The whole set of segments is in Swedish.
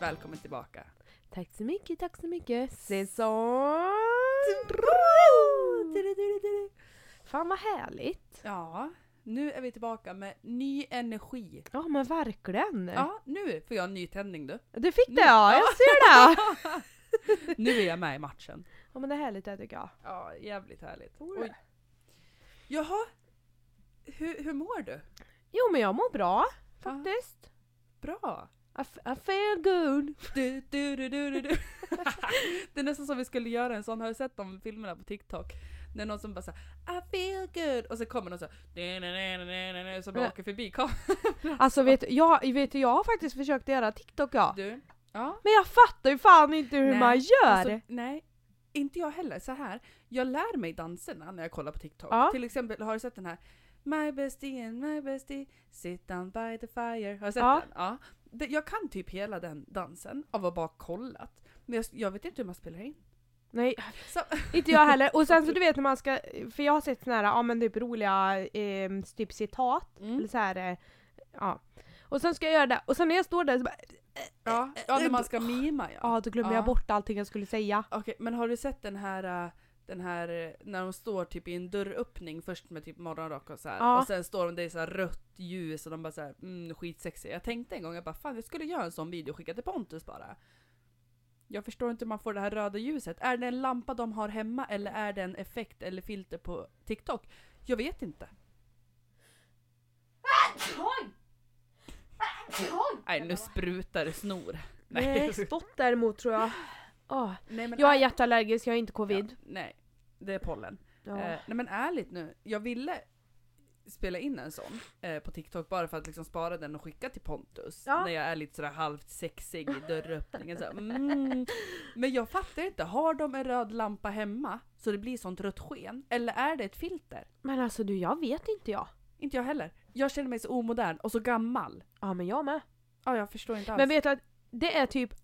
Välkommen tillbaka. Tack så mycket, tack så mycket. Säsong... Fan vad härligt. Ja, nu är vi tillbaka med ny energi. Ja men verkligen. Ja, nu får jag en ny tändning du. Du fick Nu- det ja, jag ser det. Nu är jag med i matchen. Ja men det är härligt det tycker jag. Ja, jävligt härligt. Oj. Oj. Jaha, hur, hur mår du? Jo men jag mår bra Ja, faktiskt. bra. I, f- I feel good. Du, du, du, du, du, du. Det är nästan som vi skulle göra en sån, har du sett de filmerna på TikTok? När någon som bara såhär I feel good och så kommer någon så här, som bara åker förbi kameran. Alltså vet du, jag, vet du, jag har faktiskt försökt göra TikTok ja. Du, ja. Men jag fattar ju fan inte hur Nej, man gör. Alltså, nej, inte jag heller. Så här, jag lär mig danserna när jag kollar på TikTok. Ja. Till exempel, har du sett den här My bestie and my bestie sit down by the fire. Har du sett Ja. den? Ja. Det- Jag kan typ hela den dansen av att bara ha kollat. Men jag, jag vet inte hur man spelar in. Nej, Så- inte jag heller. Och sen så du vet när man ska, för jag har sett såna här, ja men typ roliga eh, typ citat. Mm. Eller så här, eh, ja. Och sen ska jag göra det, och sen när jag står där så bara, Ja. ja, när man ska mima ja. ja då glömmer Ja. jag bort allting jag skulle säga. Okej, men har du sett den här, äh, den här äh, när de står typ i en dörröppning först med typ morgonrock och så här. Ja. Och sen står de där i så här rött ljus och de bara så här, mm, skitsexiga. Jag tänkte en gång, jag bara fan jag skulle göra en sån video och skicka till Pontus bara. Jag förstår inte hur man får det här röda ljuset. Är det en lampa de har hemma eller är det en effekt eller filter på TikTok? Jag vet inte. Nej nu sprutar det snor. Nej, spott däremot tror jag. Åh, nej men jag är jätteallergisk, jag är inte covid. Ja, nej, det är pollen. Ja. Eh, nej men ärligt nu, jag ville spela in en sån eh, på TikTok bara för att liksom spara den och skicka till Pontus. Ja. När jag är lite sådär halvt sexig i dörröppningen. Så här, mm. Men jag fattar inte, har de en röd lampa hemma så det blir sånt rött sken? Eller är det ett filter? Men alltså du, jag vet inte jag. Inte jag heller. Jag känner mig så omodern och så gammal. Ja men jag med. Ja, jag förstår inte alls. Men vet du att det är typ,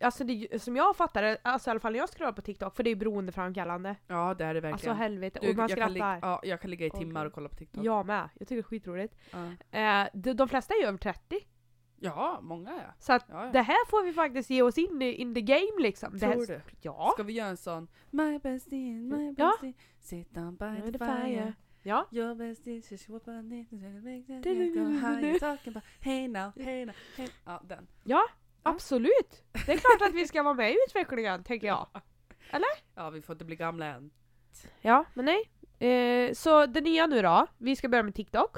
alltså det, som jag fattar det, alltså i alla fall när jag scrollar på TikTok, för det är ju beroendeframkallande. ja, det är det verkligen. Alltså helvete, Du, och man jag, kan ligga, skrattar. ja, jag kan ligga i Åh, timmar gud. och kolla på TikTok. Jag med, jag tycker det är skitroligt. Ja, Eh, de, de flesta är ju över 30. ja många ja. Så att ja, ja. det här får vi faktiskt ge oss in i in the game liksom. Det här, Tror du? Ja. Ska vi göra en sån My bestie, my Ja. bestie, sit down by the fire Ja. Your bestie, she's whooping it, she's gonna make that Du, du, girl go du, du, high, du. you're talking about hey now, hey now, hey Ja, den. Absolut! Det är klart att vi ska vara med i utvecklingen, tänker jag. Ja, vi får inte bli gamla än. Ja, men nej. Eh, så det nya nu då, vi ska börja med TikTok.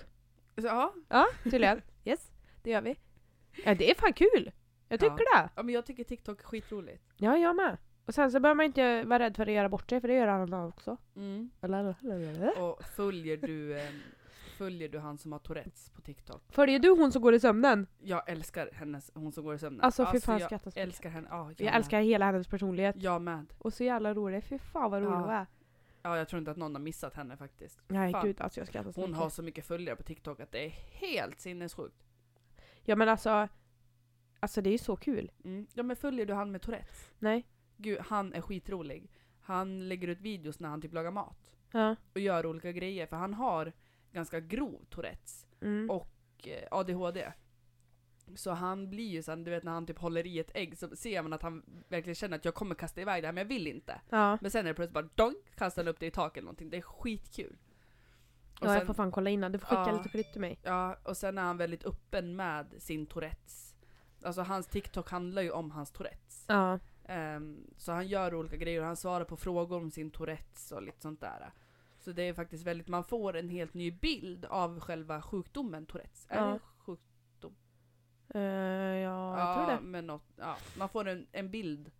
Så, ja. Ja, tydligen. yes, det gör vi. Ja, det är fan kul! Jag tycker det. ja, men jag tycker TikTok är skitroligt. Ja, jag med. Och sen så behöver man inte vara rädd för att göra bort sig, för det gör alla också. Mm. Lalalala. Och följer du, eh, följer du han som har Tourettes på TikTok? Följer du hon som går i sömnen? Jag älskar hennes, hon som går i sömnen. Alltså fy fan jag skrattar så mycket. älskar henne. Ja, Jag med. älskar hela hennes personlighet. Jag med. Och så jävla rolig, fy fan vad rolig Ja. hon är. Ja, jag tror inte att någon har missat henne faktiskt. Nej Fan. gud alltså jag skrattar så Hon mycket. har så mycket följare på TikTok att det är helt sinnessjukt. Ja men alltså, alltså det är ju så kul. Mm. Ja men följer du han med Tourettes? Nej. Gud, han är skitrolig. Han lägger ut videos när han typ lagar mat. Ja. Och gör olika grejer, för han har ganska grov Tourettes Mm. Och- och eh, ADHD. Så han blir ju sen, du vet när han typ håller i ett ägg så ser man att han verkligen känner att jag kommer kasta iväg det här men jag vill inte. Ja. Men sen är det plötsligt bara dong, kastar han upp det i taket eller någonting. Det är skitkul. Och ja jag sen- får fan kolla innan, du får skicka Ja. lite klipp till mig. Ja, och sen är han väldigt öppen med sin Tourettes. Alltså hans TikTok handlar ju om hans Tourettes. Ja. Ehm, så han gör olika grejer och han svarar på frågor om sin Tourettes och lite sånt där. Så det är faktiskt väldigt, man får en helt ny bild av själva sjukdomen Tourettes. Är Ja. det sjuk- Eh, ja, jag tror det. Men något, ja. Man får en, en bild,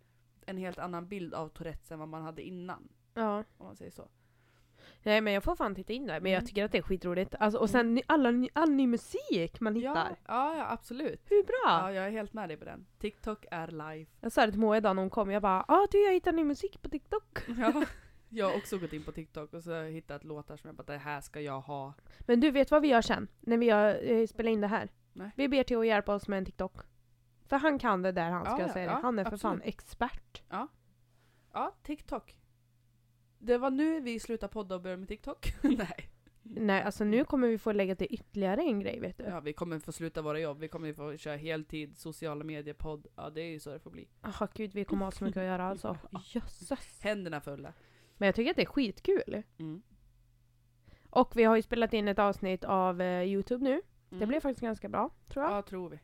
en helt annan bild av Tourettes än vad man hade innan. Ja. Om man säger så. Nej men jag får fan titta in där, men Mm. jag tycker att det är skitroligt. Alltså, och sen ny- alla, ny- all ny musik man Ja, hittar. ja, ja absolut. Hur bra! Ja, jag är helt med dig på den. TikTok är live. Jag sa det till Moa idag när hon kom, jag bara ah du jag hittade ny musik på TikTok. Ja. Jag har också gått in på TikTok och så har jag hittat låtar som jag bara, det här ska jag ha. Men du vet vad vi gör sen? När vi gör, eh, spelar in det här? Nej. Vi ber Theo hjälpa oss med en TikTok. För han kan det där han Ja, ska ja, jag säga det. ja, Han är för fan expert. Ja, TikTok. Det var nu vi slutade podda och började med TikTok. Nej. Nej, alltså nu kommer vi få lägga till ytterligare en grej vet du. Mm. Ja, vi kommer få sluta våra jobb, vi kommer få köra heltid, sociala medier, podd. Ja, det är ju så det får bli. Jaha Ah, gud, vi kommer ha så mycket att göra alltså. Jösses. Händerna fulla. Men jag tycker att det är skitkul. Mm. Och vi har ju spelat in ett avsnitt av eh, Youtube nu. Det Mm. blev faktiskt ganska bra, tror jag. Ja, tror vi.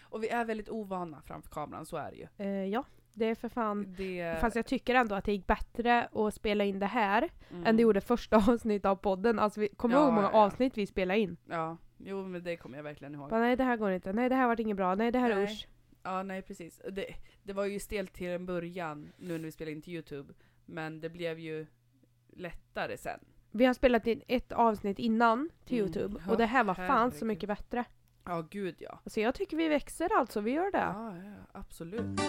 Och vi är väldigt ovana framför kameran, så är det ju. Eh, ja, det är för fan. Det... Mm. Fast jag tycker ändå att det gick bättre att spela in det här Mm. än det gjorde första avsnittet av podden. Alltså, vi, kommer du Ja, ihåg hur många ja, ja. avsnitt vi spelade in? Ja, jo men det kommer jag verkligen ihåg. Bara, nej, det här går inte. Nej, det här vart inget bra. Nej, det här är Nej. usch. Ja, nej precis. Det, det var ju stelt till en början nu när vi spelade in till Youtube. Men det blev ju lättare sen. Vi har spelat in ett avsnitt innan till Mm. Youtube Ja, och det här var fan så herregud. mycket bättre. Ja, gud ja. Alltså jag tycker vi växer alltså, vi gör det. Ja, ja absolut.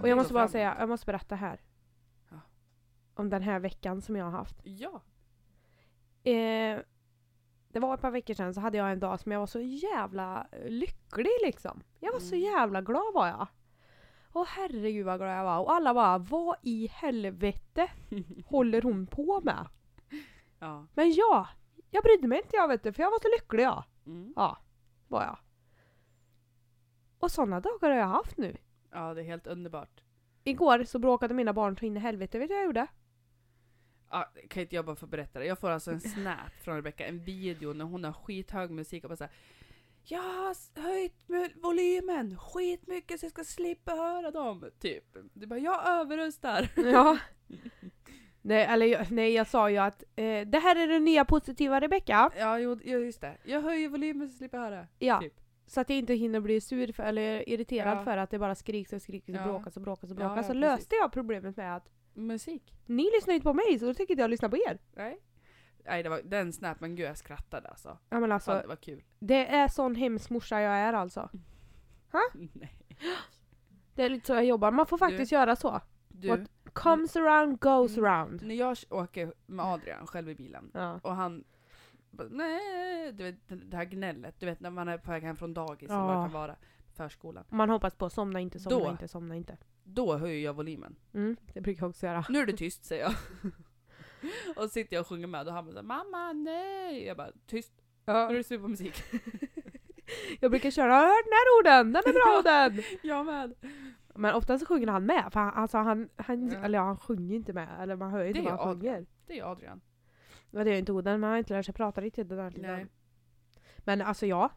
och jag måste bara framåt. säga, jag måste berätta här. Ja. Om den här veckan som jag har haft. Ja. Eh, det var ett par veckor sedan så hade jag en dag som jag var så jävla eh, lycklig liksom. Jag var så Mm. jävla glad var jag. Åh herregud vad glad jag var. Och alla bara, vad i helvete håller hon på med? ja. Men ja, jag brydde mig inte jag vet du, för jag var så lycklig jag. Mm. var jag. Och sådana dagar har jag haft nu. ja, det är helt underbart. Igår så bråkade mina barn så in i helvete, vet du vad jag gjorde? Ja, kan inte jag bara få berätta det? Jag får alltså en snap från Rebecca, en video när hon har skithög musik och bara såhär Jag har s- höjt mu- volymen skitmycket så jag ska slippa höra dem. Typ. Du bara, jag överröstar. Ja. nej, eller jag, nej, jag sa ju att eh, det här är den nya positiva Rebecka. Ja, jo, ja, just det. Jag höjer volymen så slipper jag höra. Ja. Typ. Så att jag inte hinner bli sur för, eller irriterad Ja. för att det bara skriks och skriks och Ja. bråkas och bråkas och Ja, bråkas. ja, så precis. löste jag problemet med att Musik? ni lyssnar inte på mig så då tänker inte jag lyssna på er. Nej. Nej, det var den snap, men gud jag skrattade alltså. Ja men Fan, alltså, det var kul. det är sån hemsk morsa jag är alltså. Nej. Det är lite så jag jobbar, man får faktiskt göra så. Du, What? Comes around, goes Mm. around. när jag åker med Adrian själv i bilen Ja. och han bara, nej, du vet det här gnället, du vet när man är på väg hem från dagis Ja. eller vad det kan vara, förskolan. Man hoppas på somna inte, somna Då. inte, somna inte. Då höjer jag volymen. Mm, det brukar jag också göra. Nu är det tyst säger jag. och sitter jag och sjunger med och han bara så här, mamma nej. Jag bara tyst, nu är det slut på musik. Jag brukar köra har du hört den här orden, den är bra orden! jag med. Men oftast så sjunger han med, för han, alltså han, han, Ja. eller ja, han sjunger inte med, eller man hör ju inte Det vad är han Adrian. sjunger. Det är Adrian. Men det är ju inte orden, man har inte lärt sig prata riktigt ordentligt. Nej. än. Men alltså ja,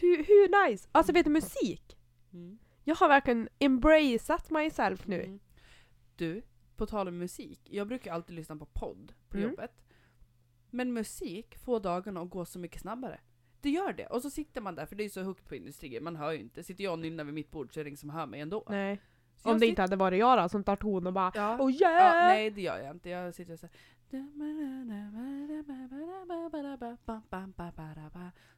hur, hur nice! Alltså vet du musik? Mm. Jag har verkligen embraceat myself nu. Mm. Du, på tal om musik. Jag brukar alltid lyssna på podd på Mm. jobbet. Men musik får dagarna att gå så mycket snabbare. Det gör det. Och så sitter man där, för det är ju så högt på industrier, man hör ju inte. Sitter jag och nynnar vid mitt bord så är det ingen som hör mig ändå. Nej. Så jag Om det sit- inte hade varit jag då som tar ton och bara Ja. Oh yeah! ja. Nej, det gör jag inte. Jag sitter så här.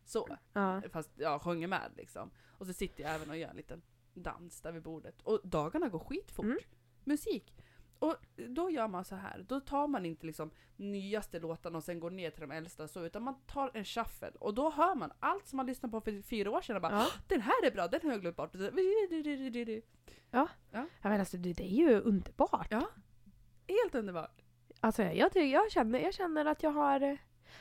Så. Ja. Fast jag sjunger med liksom. Och så sitter jag även och gör en liten dans där vid bordet. Och dagarna går skitfort. Mm. Musik. Och då gör man så här. Då tar man inte liksom nyaste låtarna och sen går ner till de äldsta så. Utan man tar en shuffle. Och då hör man allt som man lyssnade på för fyra år sedan. och Bara, Ja. Den här är bra, den har jag glömt bort. Och så- Ja, men alltså det, det är ju underbart. Ja. Helt underbart. Alltså jag, tycker, jag, känner, jag känner att jag har... eh,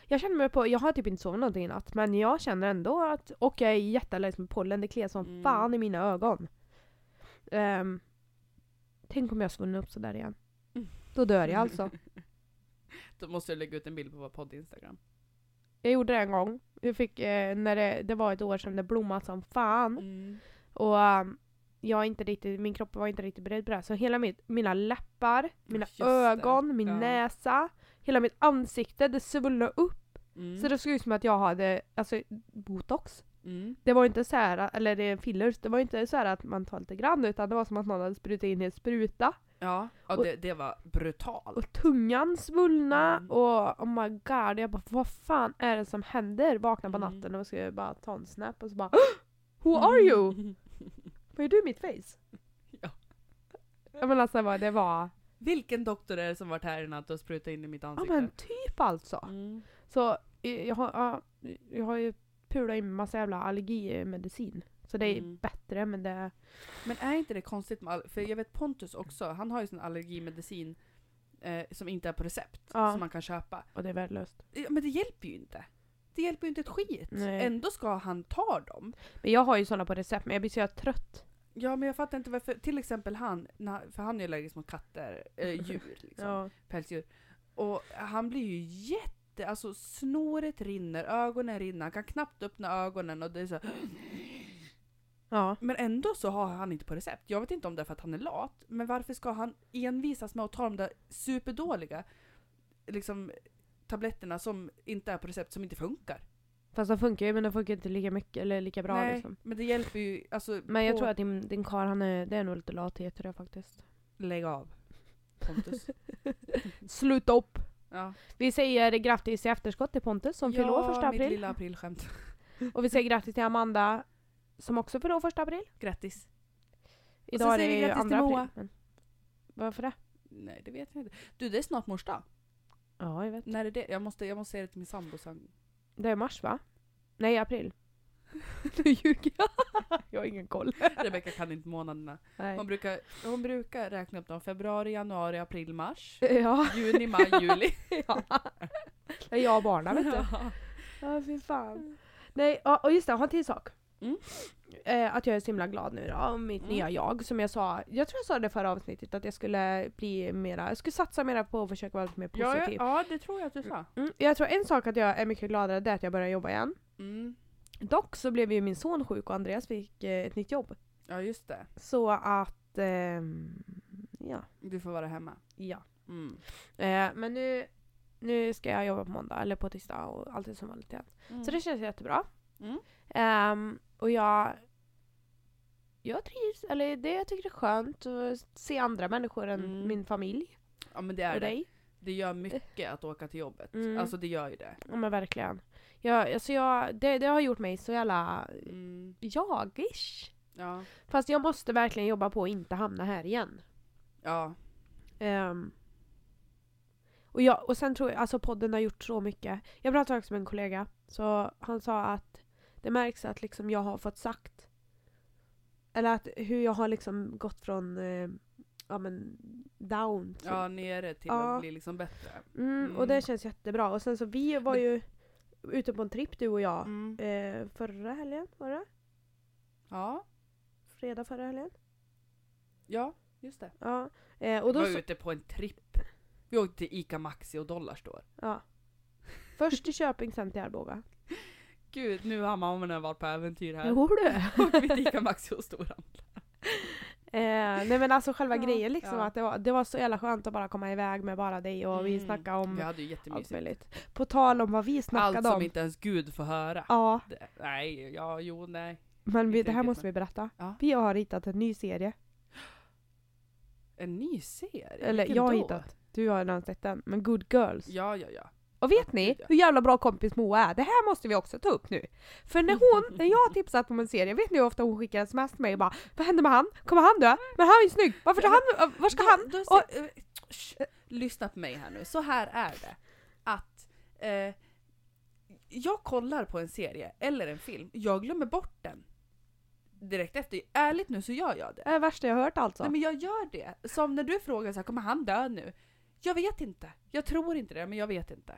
Jag känner mig på, jag har typ inte sovit någonting i natt men jag känner ändå att, och jag är jätteallergisk mot pollen, det kliar som Mm. fan i mina ögon. Ehm, tänk om jag svullnar upp sådär igen. Mm. Då dör jag alltså. Då måste jag lägga ut en bild på vår podd Instagram. Jag gjorde det en gång. Jag fick, eh, när det, det var ett år sedan det blommade som fan. Mm. Och ehm, jag är inte riktigt, min kropp var inte riktigt beredd på det här. Så hela mitt, mina läppar, mina Just det. ögon, min Ja. näsa, hela mitt ansikte, det svullnade upp. Mm. Så det såg ut som att jag hade alltså, botox. Mm. Det var inte så här, eller det är fillers, det var inte så här att man tar lite grann utan det var som att någon hade sprutat in i en spruta. Ja, ja Och- det, det var brutalt. Och tungan svullna Mm. och oh my god, jag bara vad fan är det som händer? Vaknar på Mm. natten och ska bara ta en snap och så bara Who are you? Vad gör du i mitt face? Ja. Ja men alltså vad det var, Vilken doktor är det som varit här i natt och sprutat in i mitt ja ansikte? men typ alltså. Mm. Så eh, jag har, ja, jag har ju pulat in massa jävla allergimedicin. Så det är Mm. bättre men det Men är inte det konstigt med all- För jag vet Pontus också, han har ju sin allergimedicin eh, som inte är på recept Ja. som man kan köpa. Och det är värdelöst. Ja, Men det hjälper ju inte. Det hjälper ju inte ett skit. Nej. Ändå ska han ta dem. Men jag har ju sådana på recept men jag blir så jävla trött. Ja men jag fattar inte varför, till exempel han, när, för han är ju allergisk mot katter, eh, djur liksom, Ja. pälsdjur. Och han blir ju jätte, alltså snåret rinner, ögonen rinner, han kan knappt öppna ögonen och det är så ja. Men ändå så har han inte på recept. Jag vet inte om det är för att han är lat, men varför ska han envisas med att ta de där superdåliga liksom, tabletterna som inte är på recept, som inte funkar? Fast de funkar ju men de funkar inte lika mycket eller lika bra Nej, liksom. men det hjälper ju. Alltså, Men jag på- tror att din, din karl han är, det är nog lite lathet tror jag faktiskt. Lägg av. Pontus. Sluta upp! Ja. Vi säger grattis i efterskott till Pontus som fyller år första mitt april. lilla aprilskämt. Och vi säger grattis till Amanda som också fyller år första april. Grattis. så Idag är säger det vi ju grattis andra till Moa. april. Men... Varför det? Nej, det vet jag inte. Du, det är snart mors dag. Ja, jag vet. När är det? Jag måste, jag måste säga det till min sambo sen. Det är mars va? Nej, april. nu ljuger jag. jag har ingen koll. Rebecka kan inte månaderna. Hon Nej. brukar, hon brukar räkna upp dem. Februari, januari, april, mars. Ja, Juni, maj, juli. ja. Det är jag och barnen vet du. Ja. Ja, fy fan. Nej, ja, och just det, jag har en till sak. Mm. Eh, att jag är så himla glad nu då, om mitt Mm. nya jag. Som jag sa, jag tror jag sa det förra avsnittet att jag skulle bli mera, jag skulle satsa mera på att försöka vara lite mer Ja, ja, positiv. ja, det tror jag att du sa. Mm, jag tror en sak att jag är mycket gladare det är att jag börjar jobba igen. Mm. Dock så blev ju min son sjuk och Andreas fick eh, ett nytt jobb. Ja, just det. Så att, ehm, ja. Du får vara hemma. ja. Mm. Eh, men nu, nu ska jag jobba på måndag eller på tisdag och allt är som vanligt igen. Så det känns jättebra. Mm. Ehm, och jag, jag trivs, eller det jag tycker det är skönt att se andra människor än Mm. min familj Ja, men det är och det. dig. Det gör mycket att åka till jobbet. Mm. Alltså det gör ju det. Ja men verkligen. Jag, alltså jag, det, det har gjort mig så jävla Mm. jagish. Ja. Fast jag måste verkligen jobba på att inte hamna här igen. ja. Ehm. och, jag, och sen tror jag, alltså podden har gjort så mycket. Jag pratade också med en kollega, så han sa att det märks att liksom jag har fått sagt. Eller att hur jag har liksom gått från eh, ja, men down. till- Ja, nere till Ja. att bli liksom bättre. Mm, och det Mm. känns jättebra. Och sen så vi var Men- ju ute på en tripp du och jag. Mm. Eh, förra helgen var det? Ja, Fredag förra helgen? ja, just det. Ja. Eh, och Vi då var så, ute på en tripp. Vi åkte till Ica Maxi och Dollarstore. ja. Först till Köping, sen till Arboga. Gud, nu har mammorna varit på äventyr här. Jo du! Och vi till Ica Maxi och Storhandla. Eh, nej men alltså själva Ja, grejen liksom ja. att det var, det var så jävla skönt att bara komma iväg med bara dig och vi Mm. snackade om Vi hade ju allt jättemysigt. möjligt. På tal om vad vi Allt snackade som om. inte ens Gud får höra. Ja, Det, nej, ja, jo, nej. men vi, inte det här riktigt, måste men- vi berätta. Ja. Vi har hittat en ny serie. En ny serie? Eller Vilken jag har då? hittat. Du har redan sett den. Men Good Girls. Ja, ja, ja. Och vet ni hur jävla bra kompis Moa är? Det här måste vi också ta upp nu. För när hon, när jag har tipsat om en serie, vet ni hur ofta hon skickar sms till mig och bara Vad händer med han? Kommer han dö? Men han är ju snygg! Varför tar han, var ska Då- han? då och- sä- eh, sh, lyssna på mig här nu. Så här är det. Att eh, jag kollar på en serie eller en film. Jag glömmer bort den. Direkt efter. Ärligt nu så gör jag det. Det är det värsta jag har hört alltså. Nej men jag gör det. Som när du frågar så här, kommer han dö nu? Jag vet inte. Jag tror inte det, men jag vet inte.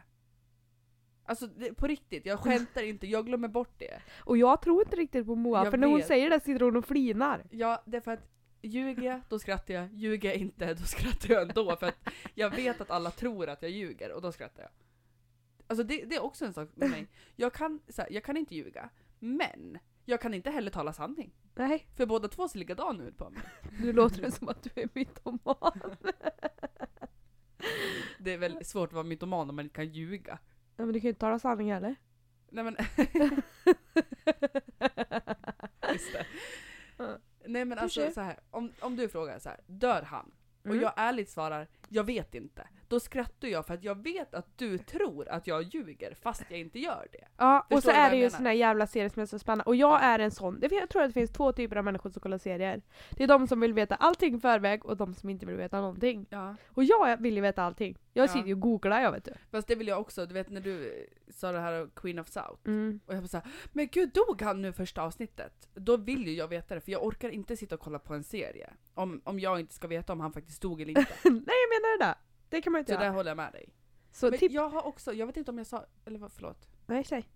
Alltså det, på riktigt, jag skämtar inte. Jag glömmer bort det. Och jag tror inte riktigt på Moa, Jag för när hon vet. säger det sitter hon och flinar. Ja, därför att ljuger jag, då skrattar jag. Ljuger jag inte, då skrattar jag ändå. För att jag vet att alla tror att jag ljuger och då skrattar jag. Alltså det, det är också en sak med mig. Jag kan, så här, jag kan inte ljuga, men jag kan inte heller tala sanning. Nej, För båda två ser likadana ut på mig. nu låter det som att du är mytoman. Det är väl svårt att vara mytoman om man inte kan ljuga. Ja, men du kan ju inte tala sanning heller. Nej men just det. Ja. Nej men Kanske. alltså så här, om, om du frågar så här, dör han? Och Mm. jag ärligt svarar, jag vet inte. Då skrattar jag för att jag vet att du tror att jag ljuger fast jag inte gör det. Ja, och Förstår så du är vad jag det ju menar? såna här jävla serier som är så spännande. Och jag är en sån. Det fin- Jag tror att det finns två typer av människor som kollar serier. Det är de som vill veta allting i förväg och de som inte vill veta någonting. Ja. Och jag vill ju veta allting. Jag Ja. sitter ju och googlar jag vet du. Fast det vill jag också, du vet när du eh, sa det här om Queen of South. Mm. Och jag var såhär, men gud dog han nu första avsnittet? Då vill ju jag veta det för jag orkar inte sitta och kolla på en serie. Om, om jag inte ska veta om han faktiskt dog eller inte. Nej jag menar det där. Det kan man inte Så där göra. håller jag med dig. Så Men tips. jag har också, jag vet inte om jag sa, eller vad, förlåt. Nej, säg.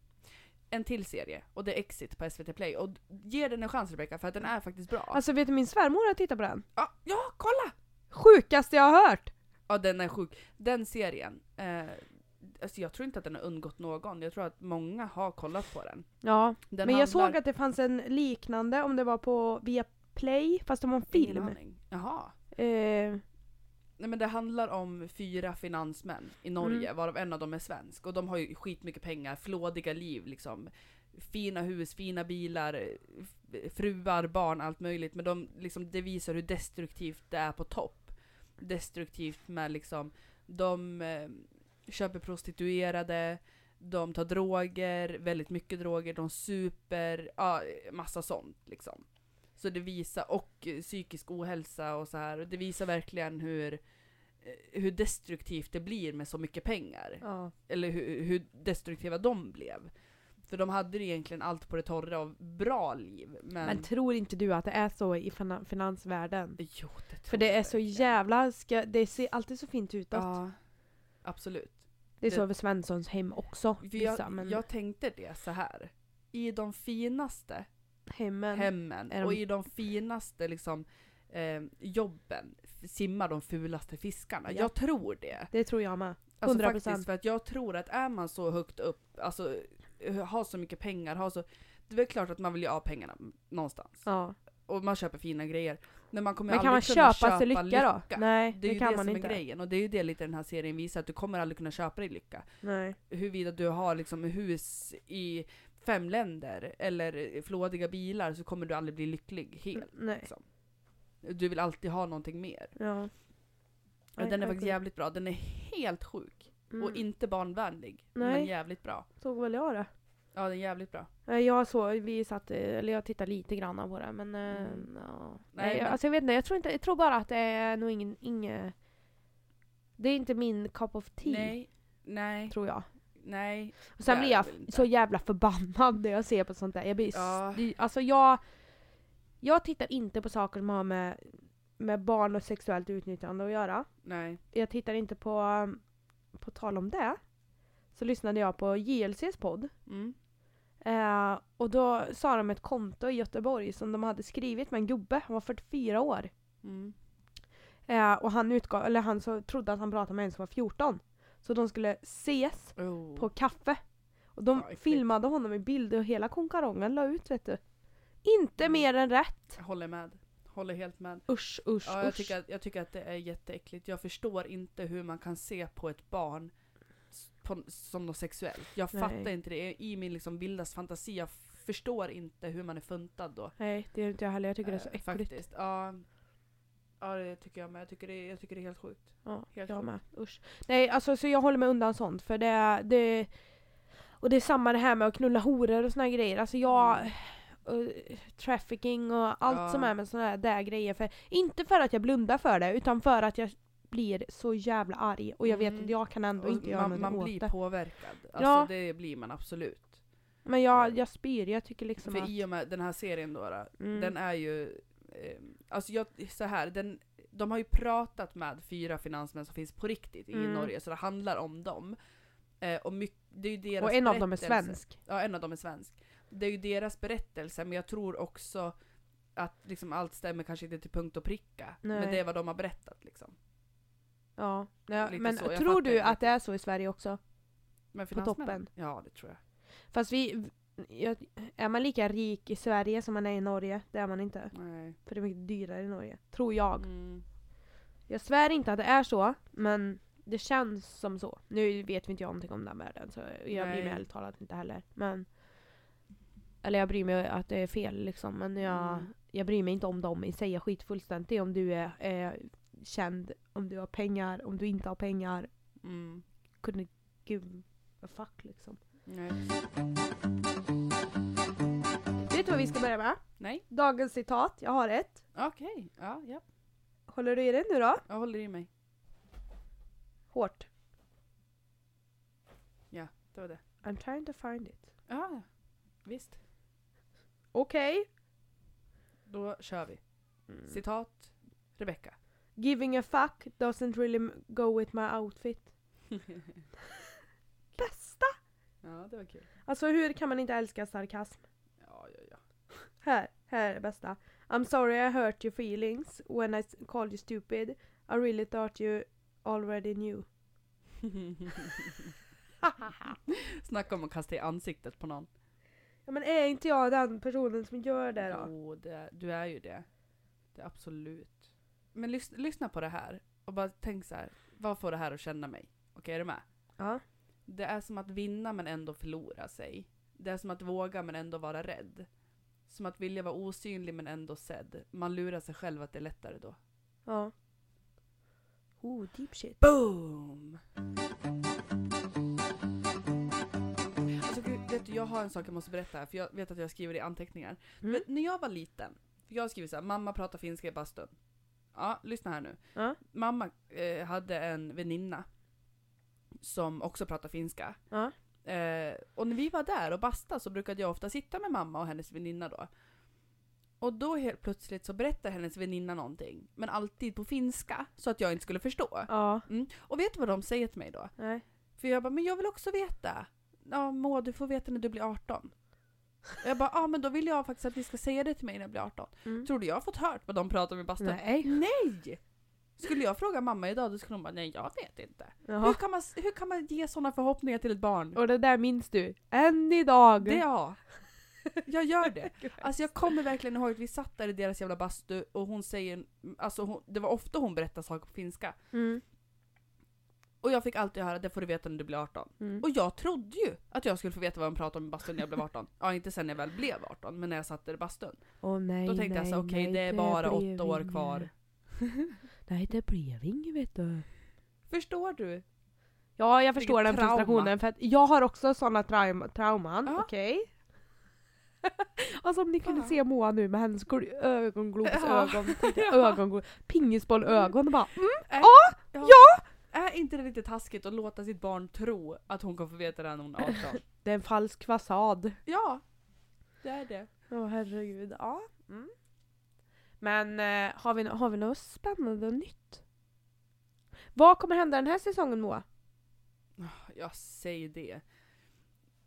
En till serie och det är Exit på SVT Play. Och ge den en chans Rebecca för att den är faktiskt bra. Alltså vet du, min svärmor har tittat på den. ja, ja, kolla! Sjukaste jag har hört! Ja den är sjuk. Den serien, eh, alltså jag tror inte att den har undgått någon. Jag tror att många har kollat på den. Ja, den men jag handlar- såg att det fanns en liknande, om det var på via Play, fast det var en Ingen film. aning. Jaha. Eh, Nej men det handlar om fyra finansmän i Mm. Norge, varav en av dem är svensk. Och de har ju skitmycket pengar, flådiga liv liksom. Fina hus, fina bilar, f- fruar, barn, allt möjligt. Men de, liksom, det visar hur destruktivt det är på topp. Destruktivt med liksom, de eh, köper prostituerade, de tar droger, väldigt mycket droger, de super, ja massa sånt liksom. Så det visar, och eh, psykisk ohälsa och så här, och det visar verkligen hur, eh, hur destruktivt det blir med så mycket pengar. ja. Eller hur, hur destruktiva de blev. För de hade ju egentligen allt på det torra och bra liv. Men, Men tror inte du att det är så i fina- finansvärlden? jo, det tror För det jag är så verkligen. jävla, ska, det ser alltid så fint utåt. Ja, absolut. det är det- så över Svenssons hem också. För Vissa, jag, men jag tänkte det så här. I de finaste hemmen. hemmen är de- och i de finaste liksom, eh, jobben f- simmar de fulaste fiskarna. Ja. Jag tror det. Det tror jag med. Alltså 100%. faktiskt för att jag tror att är man så högt upp, alltså eh, har så mycket pengar, har så... Det är väl klart att man vill ju ha pengarna någonstans. Ja. Och man köper fina grejer. Men man kommer Men kan man aldrig kunna köpa sig lycka, då? Nej, Det det, är ju kan det man som inte. är grejen och det är ju det lite den här serien visar, att du kommer aldrig kunna köpa dig lycka. Nej. Huruvida du har liksom hus i fem länder eller flådiga bilar så kommer du aldrig bli lycklig helt. Nej. Du vill alltid ha någonting mer. Ja. Och Nej, den är faktiskt verkligen. jävligt bra. Den är helt sjuk. Och Mm. inte barnvänlig. Nej. Men jävligt bra. Såg väl jag det? Ja, den är jävligt bra. Eh, Jag såg, vi satt, eh, eller jag tittade lite grann på det men... eh, Mm. Ja. Nej, Nej, jag, men- alltså jag vet inte, jag tror, inte, jag tror bara att det är nog ingen, inge, Det är inte min cup of tea, Nej. Nej. tror jag. Nej. Och Det sen är blir det jag väl inte. så jävla förbannad när jag ser på sånt där. Jag blir... Ja. Ja. Alltså jag... Jag tittar inte på saker som har med, med barn och sexuellt utnyttjande att göra. Nej. Jag tittar inte på... um, På tal om det, så lyssnade jag på JLCs podd. Mm. Eh, och då sa de ett konto i Göteborg som de hade skrivit med en gubbe, han var 44 år. Mm. Eh, och han, utgav, eller han så trodde att han pratade med en som var 14. Så de skulle ses Oh. på kaffe. Och de Ja, äckligt. filmade honom i bild och hela konkarongen la ut vet du. Inte Mm. mer än rätt! Jag Håller med. Håller helt med. Usch, usch, Ja, jag, usch. tycker att, jag tycker att det är jätteäckligt. Jag förstår inte hur man kan se på ett barn s- på, som något sexuellt. Jag Nej. fattar inte det. I min liksom vildaste fantasi, jag förstår inte hur man är funtad då. Nej, det är inte jag heller. Jag tycker det är så Eh, äckligt. Faktiskt. Ja. ja, det tycker jag med. Jag tycker det, jag tycker det är helt sjukt. Ja, Helt jag sjukt. med. Usch. Nej, alltså så jag håller mig undan sånt för det... det och det är samma det här med att knulla horor och såna här grejer. Alltså jag... Mm. och eh, trafficking och allt Ja. som är med sådana här där grejer. För, inte för att jag blundar för det, utan för att jag blir så jävla arg. Och jag vet Mm. att jag kan ändå Och inte göra man något man åt blir det. påverkad. Alltså Ja. det blir man absolut. Men jag, jag spyr, jag tycker liksom För att... i och med den här serien då, då Mm, Den är ju, eh, alltså jag, så här, den, de har ju pratat med fyra finansmän som finns på riktigt i Mm. Norge, så det handlar om dem. Eh, och mycket, det är ju deras och en av dem är berättelse. svensk. Ja, en av dem är svensk. Det är ju deras berättelse, men jag tror också att liksom allt stämmer kanske inte till punkt och pricka. Men Nej. det är vad de har berättat liksom. Ja. Ja, Lite men så, jag tror fattar du inte att det är så i Sverige också? Men På finansmän? toppen. Ja, det tror jag. Fast vi... Jag, är man lika rik i Sverige som man är i Norge? Det är man inte. Nej. För det är mycket dyrare i Norge. Tror jag. Mm. Jag svär inte att det är så, men det känns som så. Nu vet vi inte jag någonting om den världen, så jag Nej. bryr mig ärligt talat inte heller. Men, eller jag bryr mig att det är fel liksom, men jag, Mm. jag bryr mig inte om dem i sig. Jag skiter fullständigt i om du är eh, känd, om du har pengar, om du inte har pengar. Mm. Kunde gud, vad fuck liksom. Nej. Vet du vad vi ska börja med? Nej. Dagens citat, jag har ett. Okej, ja, ja. Håller du i det nu då? Jag håller i mig. Hårt. Det var det. I'm trying to find it. Ja, visst. Okej. Då kör vi. Mm. Citat Rebecka. Giving a fuck doesn't really m- go with my outfit. Bästa! Ja, det var kul. Alltså hur kan man inte älska sarkasm? Ja, ja, ja. Här, här är bästa. I'm sorry I hurt your feelings when I s- called you stupid. I really thought you already knew. Snacka om att kasta i ansiktet på någon. Ja, men är inte jag den personen som gör det då? Jo, det, du är ju det. Det är absolut. Men lys, lyssna på det här och bara tänk så här. Vad får det här att känna mig? Okej, är du med? Ja. Det är som att vinna men ändå förlora sig. Det är som att våga men ändå vara rädd. Som att vilja vara osynlig men ändå sedd. Man lurar sig själv att det är lättare då. Ja. Oh, deep shit. Boom! Alltså, gud, vet du, jag har en sak jag måste berätta här, för jag vet att jag skriver i anteckningar. Mm. Vet, när jag var liten, för jag skriver så här, mamma pratar finska i bastun. Ja, lyssna här nu. Ja. Mamma eh, hade en väninna som också pratar finska. Ja. Eh, och när vi var där och basta så brukade jag ofta sitta med mamma och hennes väninna då. Och då helt plötsligt så berättar hennes väninna någonting, men alltid på finska, så att jag inte skulle förstå. Ja. Och vet du vad de säger till mig då? Nej. För jag bara, men jag vill också veta. Ja, Må, du får veta när du blir 18. Och Jag bara, ja ah, men då vill jag faktiskt att ni ska säga det till mig när jag blir 18. Mm. Tror du jag har fått hört vad de pratar med bastun? Nej. Nej! Skulle jag fråga mamma idag då skulle hon bara, nej jag vet inte. Hur Jaha. kan, man, hur kan man ge sådana förhoppningar till ett barn? Och det där minns du? Än idag! Det ja. Jag gör det. Alltså jag kommer verkligen ihåg att vi satt där i deras jävla bastu och hon säger, alltså hon, det var ofta hon berättade saker på finska. Mm. Och jag fick alltid höra, det får du veta när du blir 18. Mm. Och jag trodde ju att jag skulle få veta vad de pratade om i bastun när jag blev 18. Ja, inte sen när jag väl blev 18, men när jag satt där i bastun. Åh, nej, Då tänkte jag nej, så okej, nej, det är bara blev åtta år inget. kvar. Nej, det blev inget vet du. Förstår du? Ja, jag förstår Vilket den trauma. frustrationen för att jag har också sådana traum trauman, Ja. okej? alltså om ni kunde Fan. se Moa nu med hennes gl- Ja. ögonglobsögon, Ja. ögonglo- pingisbollögon och bara mm, Ja! Är inte det lite taskigt att låta sitt barn tro att hon kommer få veta det här när hon är 18? Det är en falsk fasad. Ja! Det är det. Åh herregud, ja. Mm. Men eh, har, vi, nå- har vi något spännande och nytt? Vad kommer hända den här säsongen Moa? Ah, Jag säger det.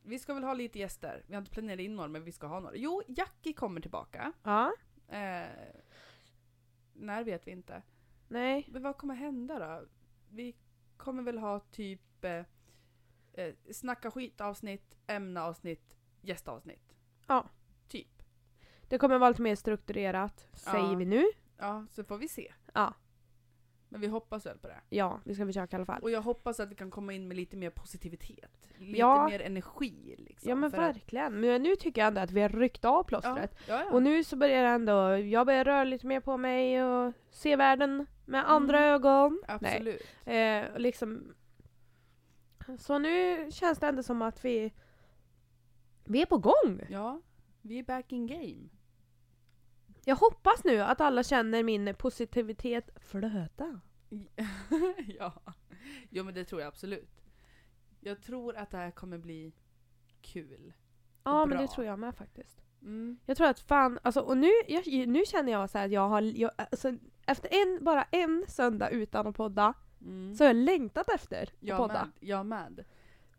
Vi ska väl ha lite gäster. Vi har inte planerat in några, men vi ska ha några. Jo, Jackie kommer tillbaka. Ja, Eh, när vet vi inte. nej. Men vad kommer hända då? Vi kommer väl ha typ eh, eh, snacka skit avsnitt, ämne avsnitt, gästavsnitt. Ja. Typ. Det kommer vara lite mer strukturerat, säger Ja. vi nu. Ja, så får vi se. Ja. Men vi hoppas väl på det. Ja, vi ska försöka i alla fall. Och jag hoppas att vi kan komma in med lite mer positivitet. Lite Ja. mer energi liksom. Ja men för att- verkligen. Men nu tycker jag ändå att vi har ryckt av Ja, plåstret. ja, ja. Och nu så börjar jag ändå, jag börjar röra lite mer på mig och se världen med andra Mm. ögon. Nej. Absolut. Eh, och liksom. Så nu känns det ändå som att vi, vi är på gång. Ja, vi är back in game. Jag hoppas nu att alla känner min positivitet flöda. ja. Jo men det tror jag absolut. Jag tror att det här kommer bli kul. Ja men Bra. det tror jag med faktiskt. Mm. Jag tror att fan, alltså, och nu, jag, nu känner jag så här att jag har, jag, alltså, efter en, bara en söndag utan att podda, Mm. så har jag längtat efter att Jag podda. med, jag med.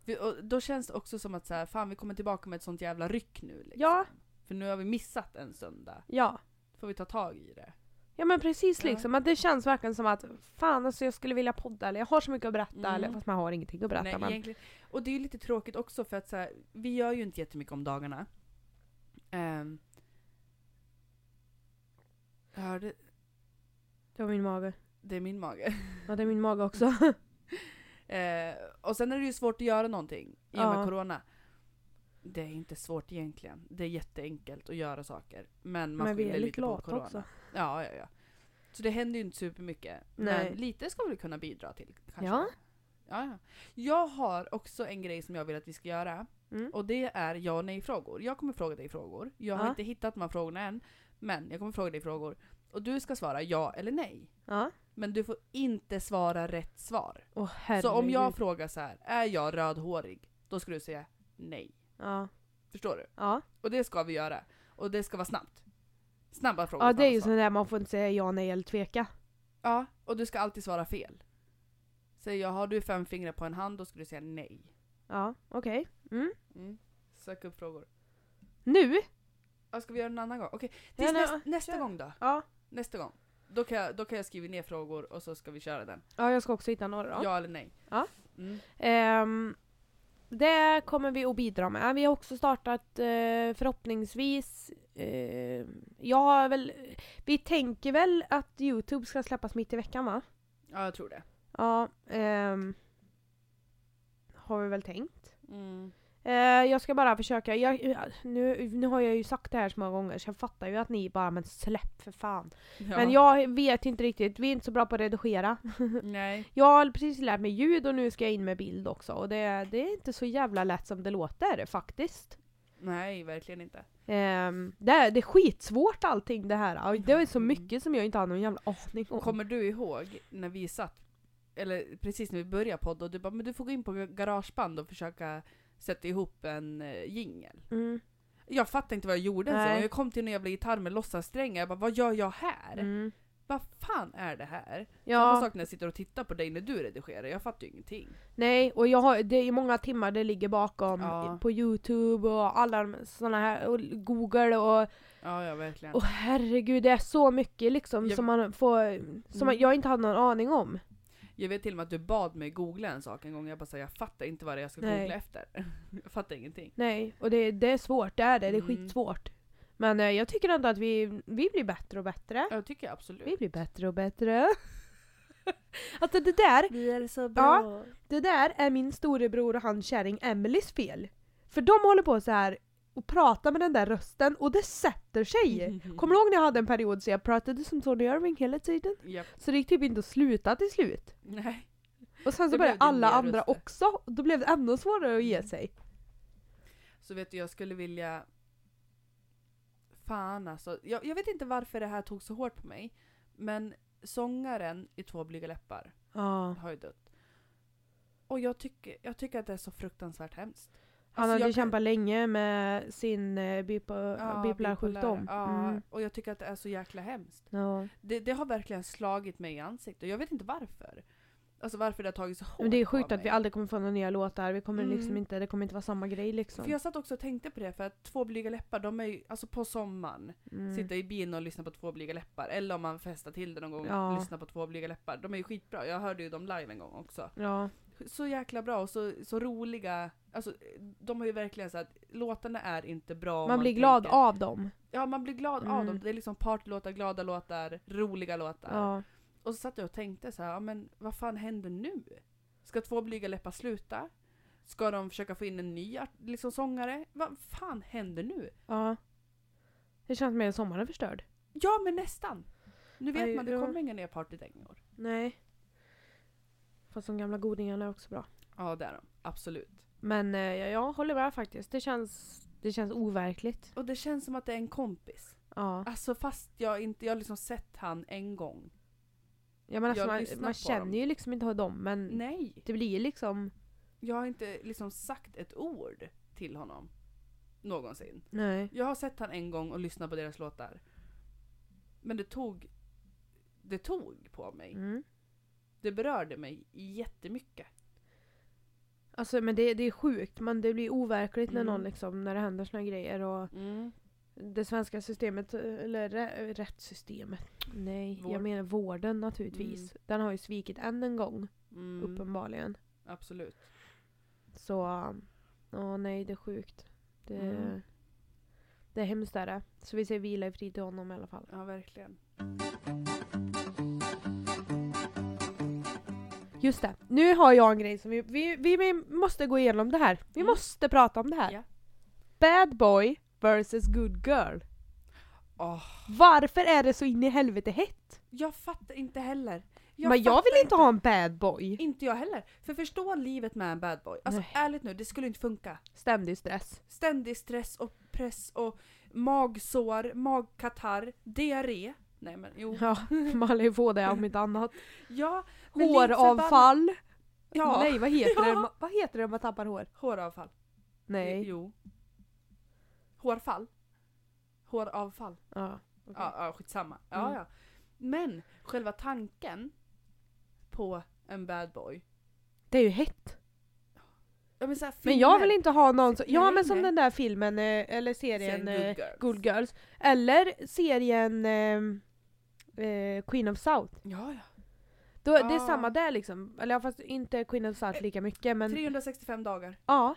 Vi, och då känns det också som att så här, fan vi kommer tillbaka med ett sånt jävla ryck nu. Liksom. Ja. För nu har vi missat en söndag. Ja. Får vi ta tag i det. Ja men precis Ja. liksom, att det känns verkligen som att fan alltså jag skulle vilja podda eller jag har så mycket att berätta Mm. eller fast man har ingenting att berätta Nej, men egentligen, och det är ju lite tråkigt också för att så här, vi gör ju inte jättemycket om dagarna. Um, hörde, det var min mage. det är min mage. Ja det är min mage också. Eh, och sen är det ju svårt att göra någonting i och med Ja. corona. Det är inte svårt egentligen. Det är jätteenkelt att göra saker. Men man men vi skyller är lite lite på lata corona. också. Ja, ja, ja. Så det händer ju inte supermycket. Nej. Men lite ska vi kunna bidra till kanske. Ja. Ja, ja. Jag har också en grej som jag vill att vi ska göra. Mm. Och det är ja och nej-frågor. Jag kommer fråga dig frågor. Jag har Ja. inte hittat de här frågorna än. Men jag kommer fråga dig frågor. Och du ska svara ja eller nej. Ja. Men du får inte svara rätt svar. Åh herregud. Så om jag frågar så här, är jag rödhårig? Då ska du säga nej. Ja. Förstår du? Ja. Och det ska vi göra. Och det ska vara snabbt. Snabba frågor. ja det är ju snabba svar. sådär man får inte säga ja, nej eller tveka. Ja, och du ska alltid svara fel. Säger jag har du fem fingrar på en hand, då ska du säga nej. Ja, okej. Mm. Mm. Sök upp frågor. Nu? Ja, ska vi göra en annan gång? Okej, Ja, tills nej, näst, nästa kör. gång då. Ja. Nästa gång. Då kan, jag, då kan jag skriva ner frågor och så ska vi köra den. ja, jag ska också hitta några då. Ja, eller nej. Ja. Mm. Ehm, det kommer vi att bidra med. Vi har också startat eh, förhoppningsvis... Eh, jag har väl, vi tänker väl att Youtube ska släppas mitt i veckan va? ja, jag tror det. Ja. ehm, har vi väl tänkt. Mm. Eh, jag ska bara försöka. Jag, nu, nu har jag ju sagt det här så många gånger så jag fattar ju att ni bara men släpp för fan. Ja. Men jag vet inte riktigt. Vi är inte så bra på att redigera. Nej. Jag har precis lärt mig ljud och nu ska jag in med bild också. Och det, det är inte så jävla lätt som det låter faktiskt. Nej, verkligen inte. Ehm, det, är- det är skitsvårt allting det här. Och Det är så Mm. mycket som jag inte har någon jävla aning om. Kommer du ihåg när vi satt, eller precis när vi började podda och du bara men du får gå in på garageband och försöka sätta ihop en eh, jingel. Mm. Jag fattade inte vad jag gjorde ens en Nej. gång. Jag kom till en jävla gitarr med låtsassträngar. Jag bara, vad gör jag här? Mm. Vad fan är det här? Samma Ja, sak när jag sitter och tittar på dig när du redigerar. Jag fattar ju ingenting. nej, och jag har, det är många timmar det ligger bakom Ja. på Youtube och alla de såna här, och Google och Ja, ja verkligen. Åh herregud, det är så mycket liksom Jag- som man får, som man, Mm. jag inte hade någon aning om. Jag vet till och med att du bad mig googla en sak en gång. Jag bara sa, jag fattar inte vad det är jag ska Nej. googla efter. jag fattar ingenting. Nej, och det, det är svårt, det är det, det är Mm. skitsvårt. Men eh, jag tycker ändå att vi, vi blir bättre och bättre. Ja, Jag tycker jag absolut. Vi blir bättre och bättre. alltså det där, Vi är så bra. det där är min storebror och hans kärring Emelies fel. För de håller på så här och pratar med den där rösten och det sätter Mm. sig. Kommer du ihåg när jag hade en period så jag pratade som Tony Irving hela tiden? Japp. Så det gick typ inte att sluta till slut. Nej. Och sen så Då började blev det alla mer andra röster. Mm. också, och då blev det ännu svårare att ge sig. Så vet du, jag skulle vilja... Fan alltså. Jag, jag vet inte varför det här tog så hårt på mig. Men sångaren i Två blyga läppar Ja. har ju dött. Och jag tycker, jag tycker att det är så fruktansvärt hemskt. Han Alltså, hade jag ju kan- kämpat länge med sin eh, bipo, Ja, bipolära sjukdom. Ja, Mm. och jag tycker att det är så jäkla hemskt. Ja. Det, det har verkligen slagit mig i ansiktet och jag vet inte varför. Alltså varför det har tagit så hårt Men det är på sjukt att vi mig. aldrig kommer få några nya låtar, vi kommer Mm. liksom inte, det kommer inte vara samma grej liksom. För jag satt också och tänkte på det för att två blyga läppar, de är ju, alltså på sommaren, Mm. sitta i bilen och lyssna på två blyga läppar. Eller om man festar till det någon gång, Ja. lyssna på två blyga läppar. De är ju skitbra, jag hörde ju dem live en gång också. Ja. Så jäkla bra och så, så roliga. Alltså de har ju verkligen så att låtarna är inte bra. om Man blir glad tänker- av dem. Ja, man blir glad av Mm. dem. Det är liksom partylåtar, glada låtar, roliga låtar. Ja. Och så satt jag och tänkte så här, ja, men vad fan händer nu? Ska två blyga läppar sluta? Ska de försöka få in en ny art- liksom, sångare? Vad fan händer nu? ja. Det känns mer sommaren förstörd. Ja, men nästan! Nu vet Aj, man, det ja. kommer inga nya partydängor. Nej. Fast de gamla godingarna är också bra. Ja, det är de. Absolut. Men eh, jag, jag håller med faktiskt, det känns, det känns overkligt. Och det känns som att det är en kompis. Ja. Alltså fast jag inte, jag har liksom sett han en gång. Ja men alltså Jag man, lyssnar man på känner dem. ju liksom inte dem men Nej! det blir ju liksom... Jag har inte liksom sagt ett ord till honom. Någonsin. Nej. Jag har sett han en gång och lyssnat på deras låtar. Men det tog... Det tog på mig. Mm. Det berörde mig jättemycket. Alltså men det, det är sjukt men det blir overkligt när Mm. någon liksom, när det händer såna här grejer och det svenska systemet, eller rä- rättssystemet. Nej, Vård. jag menar vården naturligtvis. Den har ju svikit än en gång Mm. uppenbarligen. Absolut. Så, ja nej det är sjukt. Det, Mm. det är hemskt är det. Så vi säger vila i frid till honom i alla fall. Ja, verkligen. Just det, nu har jag en grej som vi, vi, vi, vi måste gå igenom det här. Vi Mm. måste prata om det här. Ja. Bad boy versus good girl. Åh, Varför är det så in i helvete hett? jag fattar inte heller. Men jag fattar vill inte ha en bad boy. Inte jag heller. För förstå livet med en bad boy. Alltså Nej. ärligt nu, det skulle inte funka. Ständig stress. Ständig stress och press och magsår, magkatarr, diarré. Nej men jo. Ja, man lär ju få det om inte annat. Ja, men likt förbannat- Håravfall. Ja. Nej vad heter, det? Ja. ma- vad heter det om man tappar hår? Håravfall. Nej. Jo. Hårfall. Håravfall. Ja, okej. Ja, ja skitsamma. Ja, Mm. ja. Men själva tanken på en bad boy. Det är ju hett. Ja, men, så här, Men jag vill inte ha någon som, ja Filmer. men som den där filmen eh, eller serien eh, Good Girls. Eller serien eh, eh, Queen of South. Ja, ja. Då, Det är Ja. samma där liksom. Eller ja, fast inte Queen of South lika mycket men 365 dagar. ja.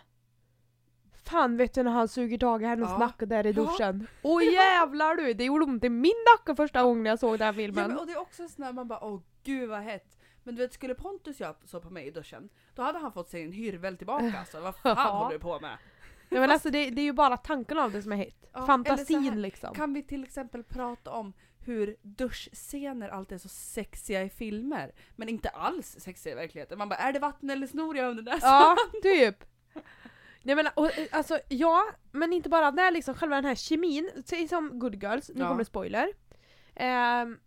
Fan vet du när han suger tag i hennes Ja. nacke där i Ja. duschen. Åh jävlar du! Det gjorde ont i min nacke första gången jag såg den här Ja, filmen. men, och det är också en sån där man bara åh gud vad hett. Men du vet skulle Pontus göra så på mig i duschen, då hade han fått sig en hyrvel tillbaka. Så vad fan Ja. håller du på med? Ja, men alltså, det, det är ju bara tanken av det som är hett. Ja, eller så här, Fantasin liksom. Kan vi till exempel prata om hur duschscener alltid är så sexiga i filmer, men inte alls sexiga i verkligheten. Man bara är det vatten eller snor jag under näsan? Ja, typ. Nej men och, eh, alltså ja, men inte bara det liksom själva den här kemin, säg som Good Girls, nu Ja. kommer spoiler. Ehm,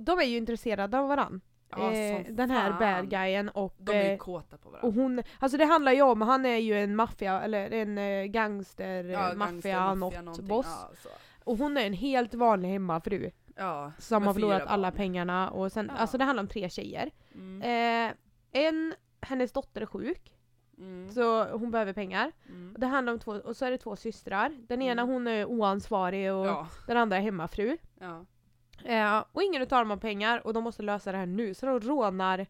de är ju intresserade av varandra. Ja, Alltså, som Eh, den här fan. bad guyen och, De är ju eh, kåta på varandra. och hon, alltså det handlar ju om, han är ju en maffia, eller en eh, gangster, Ja, eh, maffia, något, någonting. boss. Ja, så. Och hon är en helt vanlig hemmafru. ja, Som med har förlorat fyra alla barn. pengarna och sen, Ja. alltså det handlar om tre tjejer. Mm. Eh, en, hennes dotter är sjuk, Mm. så hon behöver pengar. Mm. Det handlar om två, och så är det två systrar. Den Mm. ena hon är oansvarig och Ja, den andra är hemmafru. ja. Eh, och ingen utav dem har pengar och de måste lösa det här nu så de rånar,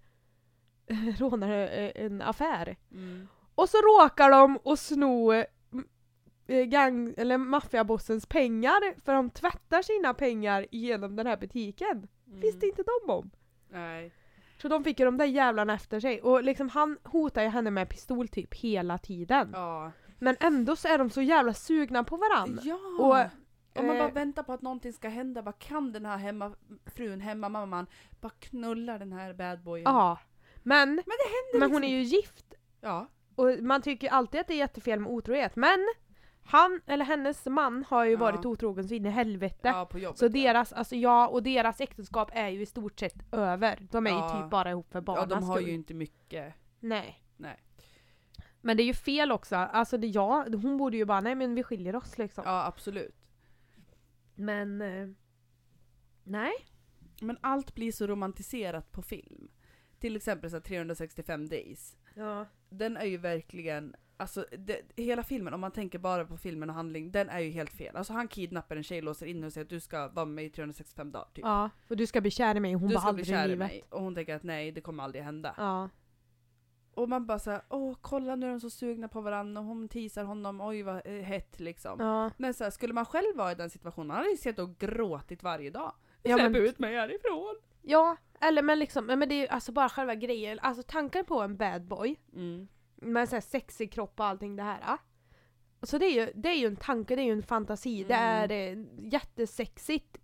rånar eh, en affär. Mm. Och så råkar de och sno eh, gang, eller maffiabossens pengar för de tvättar sina pengar genom den här butiken. Mm. Visste inte de om. Nej. Så de fick ju de där jävlarna efter sig och liksom han hotar ju henne med pistol typ hela tiden. Ja. Men ändå så är de så jävla sugna på varandra. ja. Och, Om man bara eh, väntar på att någonting ska hända, bara kan den här hemmafrun, hemmamamman, bara knulla den här badboyen? Ja. Men, men, hon är liksom ju gift Ja. och man tycker ju alltid att det är jättefel med otrohet men han eller hennes man har ju Ja. varit otrogen så in i helvete. ja, på jobbet. Så ja. deras, alltså ja, och deras äktenskap är ju i stort sett över. De är Ja. ju typ bara ihop för Ja, barnens de har skull. ju inte mycket. Nej. Nej. Men det är ju fel också. Alltså det, ja, hon borde ju bara, nej men vi skiljer oss liksom. Ja, absolut. Men... eh, nej. Men allt blir så romantiserat på film. Till exempel så här 365 days. Ja. Den är ju verkligen, alltså det, hela filmen, om man tänker bara på filmen och handling, den är ju helt fel. Alltså han kidnappar en tjej, låser in henne och säger att du ska vara med mig i 365 dagar typ. ja. Och du ska bli kär i mig, hon du bara ska bli aldrig i kär i livet. mig. Och hon tänker att nej, det kommer aldrig hända. Ja. Och man bara såhär, åh kolla nu är de så sugna på varandra och hon teasar honom, oj vad eh, hett liksom. Ja. Men så här, skulle man själv vara i den situationen, man hade ju sett och gråtit varje dag. Ja, Släpp men- ut mig härifrån! ja. Eller men liksom, men det är ju alltså bara själva grejen. Alltså tanken på en bad boy Mm. med såhär sexig kropp och allting det här. ja. Så det är ju, det är ju en tanke, det är ju en fantasi. Det är Mm. eh, jättesexigt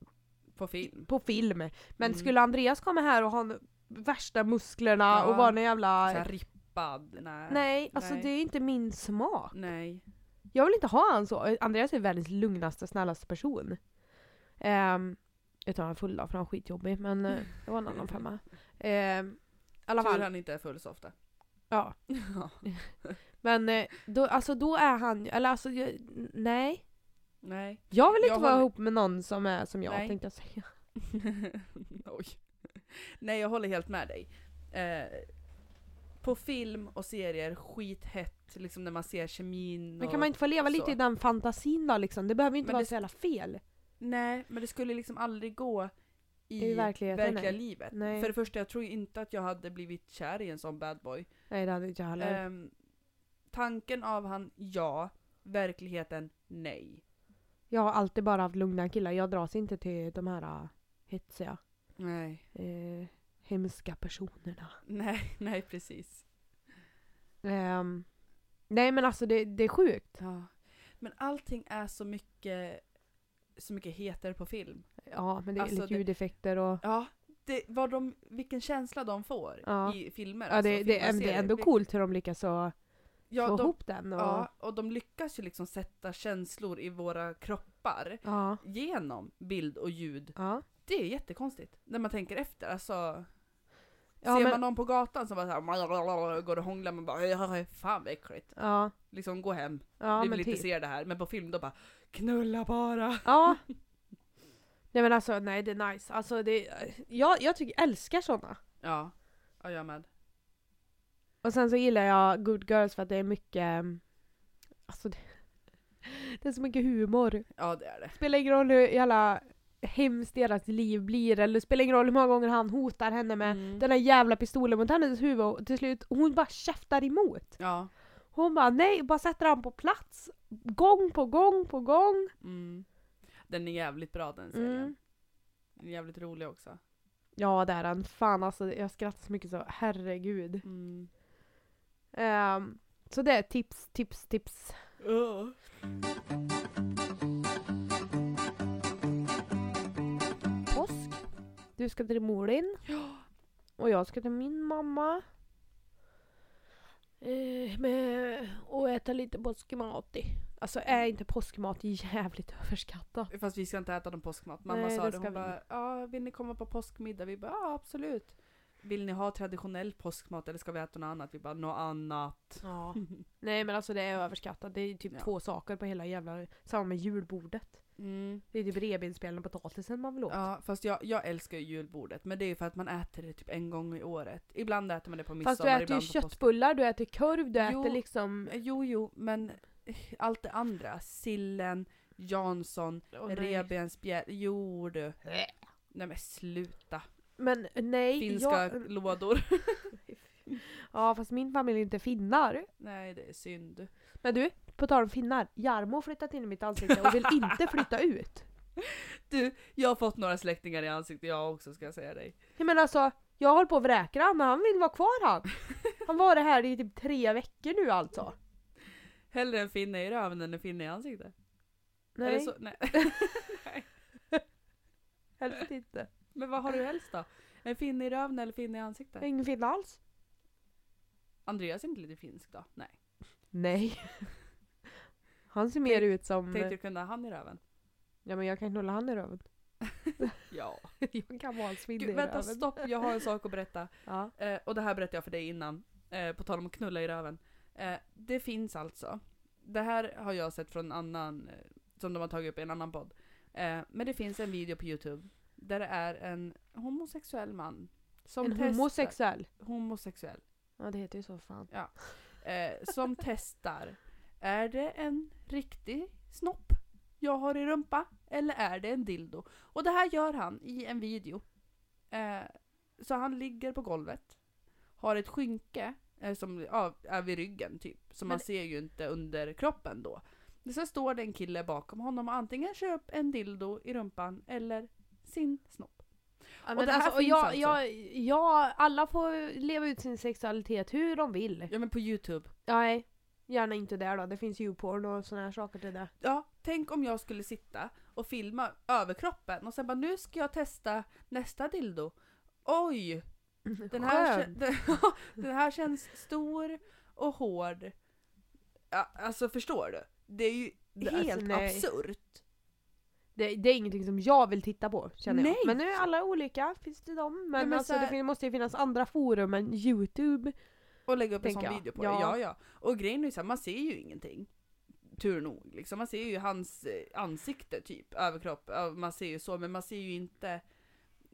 På film. på film. Men Mm. skulle Andreas komma här och ha n- värsta musklerna Ja. och vara någon jävla... Såhär rippad. Nej. Nej, alltså Nej. det är inte min smak. Nej. Jag vill inte ha han så. Andreas är världens lugnaste, snällaste person. Um, utan han är full då, för han är skitjobbig. Men eh, det var en annan femma. Um, I alla Tur fall. han inte är full så ofta. Ja. Ja. Men eh, då, alltså, då är han... Eller alltså, jag, nej. Nej. Jag vill inte Jag vara håller- ihop med någon som är som jag Nej. tänkte jag säga. Oj. Nej, jag håller helt med dig. Eh, på film och serier, skithett, liksom när man ser kemin Men och... kan man inte få leva lite så. i den fantasin då liksom? Det behöver ju inte Men vara det- så jävla fel. Nej, men det skulle liksom aldrig gå i, I verkligheten, verkliga nej. livet. Nej. För det första, jag tror inte att jag hade blivit kär i en sån bad boy. Nej det hade inte jag heller. Ehm, tanken av han, ja. Verkligheten, nej. Jag har alltid bara haft lugna killar. Jag dras inte till de här eh, hetsiga, Nej, eh, hemska personerna. nej, nej precis. Ehm, nej men alltså det, det är sjukt. Ja. Men allting är så mycket, så mycket heter på film. Ja men det är Alltså, lite det- ljudeffekter och... Ja, det, vad de, vilken känsla de får Ja. i filmer. Ja, det, alltså, det, filmer är- och det är serier. ändå Vi- coolt hur de lyckas så ja, få de, ihop den. Och, ja. Ja, och de lyckas ju liksom sätta känslor i våra kroppar Ja. genom bild och ljud. Ja. Det är jättekonstigt när man tänker efter. Alltså, Ja, ser men- man någon på gatan som bara så här, går och hånglar, man bara "Ja, fan vad äckligt. Ja. Liksom gå hem, vi men vill inte typ. se det här. Men på film då bara knulla bara. Ja. Nej men alltså nej det är nice. Alltså det, jag, jag tycker jag älskar sådana. Ja. Ja, jag med. Och sen så gillar jag Good Girls för att det är mycket, mm, alltså det, det är så mycket humor. Ja, det är det. Spelar ingen roll hur jävla hemskt deras liv blir eller spelar ingen roll hur många gånger han hotar henne med Mm. den där jävla pistolen mot hennes huvud och till slut hon bara käftar emot. Ja. Hon bara nej, bara sätter han på plats. Gång på gång på gång. Mm. Den är jävligt bra den serien. Mm. Den är jävligt rolig också. Ja det är han. Fan alltså jag skrattar så mycket så herregud. Mm. Ehm, så det är tips, tips, tips. Påsk. Du ska till mor din. Och jag ska till min mamma. Eh, med, och äta lite påskmat i. Alltså är inte påskmat jävligt överskattat? Fast vi ska inte äta någon påskmat. Mamma Nej, sa det det, hon ska vi bara ja, vill ni komma på påskmiddag? Vi bara ja, absolut. Vill ni ha traditionell påskmat eller ska vi äta något annat? Vi bara något annat. Ja. Nej men alltså det är överskattat. Det är typ Ja. två saker på hela jävla... Samma med julbordet. Mm. Det är typ revbensspjällen och potatisen man vill åt. Ja, fast jag, jag älskar ju julbordet men det är ju för att man äter det typ en gång i året. Ibland äter man det på midsommar, Fast du äter ju ibland på påsk. köttbullar, du äter korv, du Jo. äter liksom... Jo, jo, men allt det andra. Sillen, Jansson, Åh, nej. revbensspjäll. Jo du. Nej men sluta. Men nej, Finska jag... lådor. Ja fast min familj är inte finnar. Nej det är synd. Men du, på tal om finnar. Jarmo har flyttat in i mitt ansikte och vill inte flytta ut. Du, jag har fått några släktingar i ansiktet jag också ska jag säga dig. Jag menar alltså, jag håller på att vräka han, men han vill vara kvar han. Han var det här i typ tre veckor nu alltså. Hellre en finne i röven än en finne i ansiktet. Nej, Eller så, nej. helst inte. Men vad har du helst då? En finne i röven eller finne i ansiktet? Ingen finne alls. Andreas är inte lite finsk då? Nej. Nej. Han ser mer ut som... Tänkte du kunde ha han i röven? Ja men jag kan knulla han i röven. Ja. Jag kan vara hans finne i Gud, vänta röven. stopp, jag har en sak att berätta. Ja. Eh, och det här berättade jag för dig innan, eh, på tal om att knulla i röven. Eh, det finns alltså, det här har jag sett från en annan, eh, som de har tagit upp i en annan podd. Eh, men det finns en video på Youtube där det är en homosexuell man. Som En testar- homosexuell. homosexuell. Ja det heter ju så fan. Eh, som testar. Är det en riktig snopp jag har i rumpa? Eller är det en dildo? Och det här gör han i en video. Eh, så han ligger på golvet. Har ett skynke eh, som ja, är vid ryggen typ. Så man Men- ser ju inte under kroppen då. Sen står det en kille bakom honom och antingen kör upp en dildo i rumpan eller sin snopp. Ja, Och men det här alltså, och finns jag, alltså. jag, jag, alla får leva ut sin sexualitet hur de vill. Ja men på Youtube. Nej, gärna inte där då. Det finns ju porn och såna här saker till det. Ja, tänk om jag skulle sitta och filma överkroppen och sen bara nu ska jag testa nästa dildo. Oj! Den här, Skön. den, den här känns stor och hård. Ja, alltså förstår du? Det är ju Det- helt alltså, nej. absurt. Det, det är ingenting som jag vill titta på känner Nej. jag. Men nu är alla olika, finns det dem. Men, Nej, men alltså, så här- det fin- måste ju finnas andra forum än youtube. Och lägga upp en Tänker sån jag. video på Ja. det. Ja, ja. Och grejen är ju så här, man ser ju ingenting. Tur nog. Liksom. Man ser ju hans eh, ansikte typ, överkropp. Ja, Man ser ju så, men man ser ju inte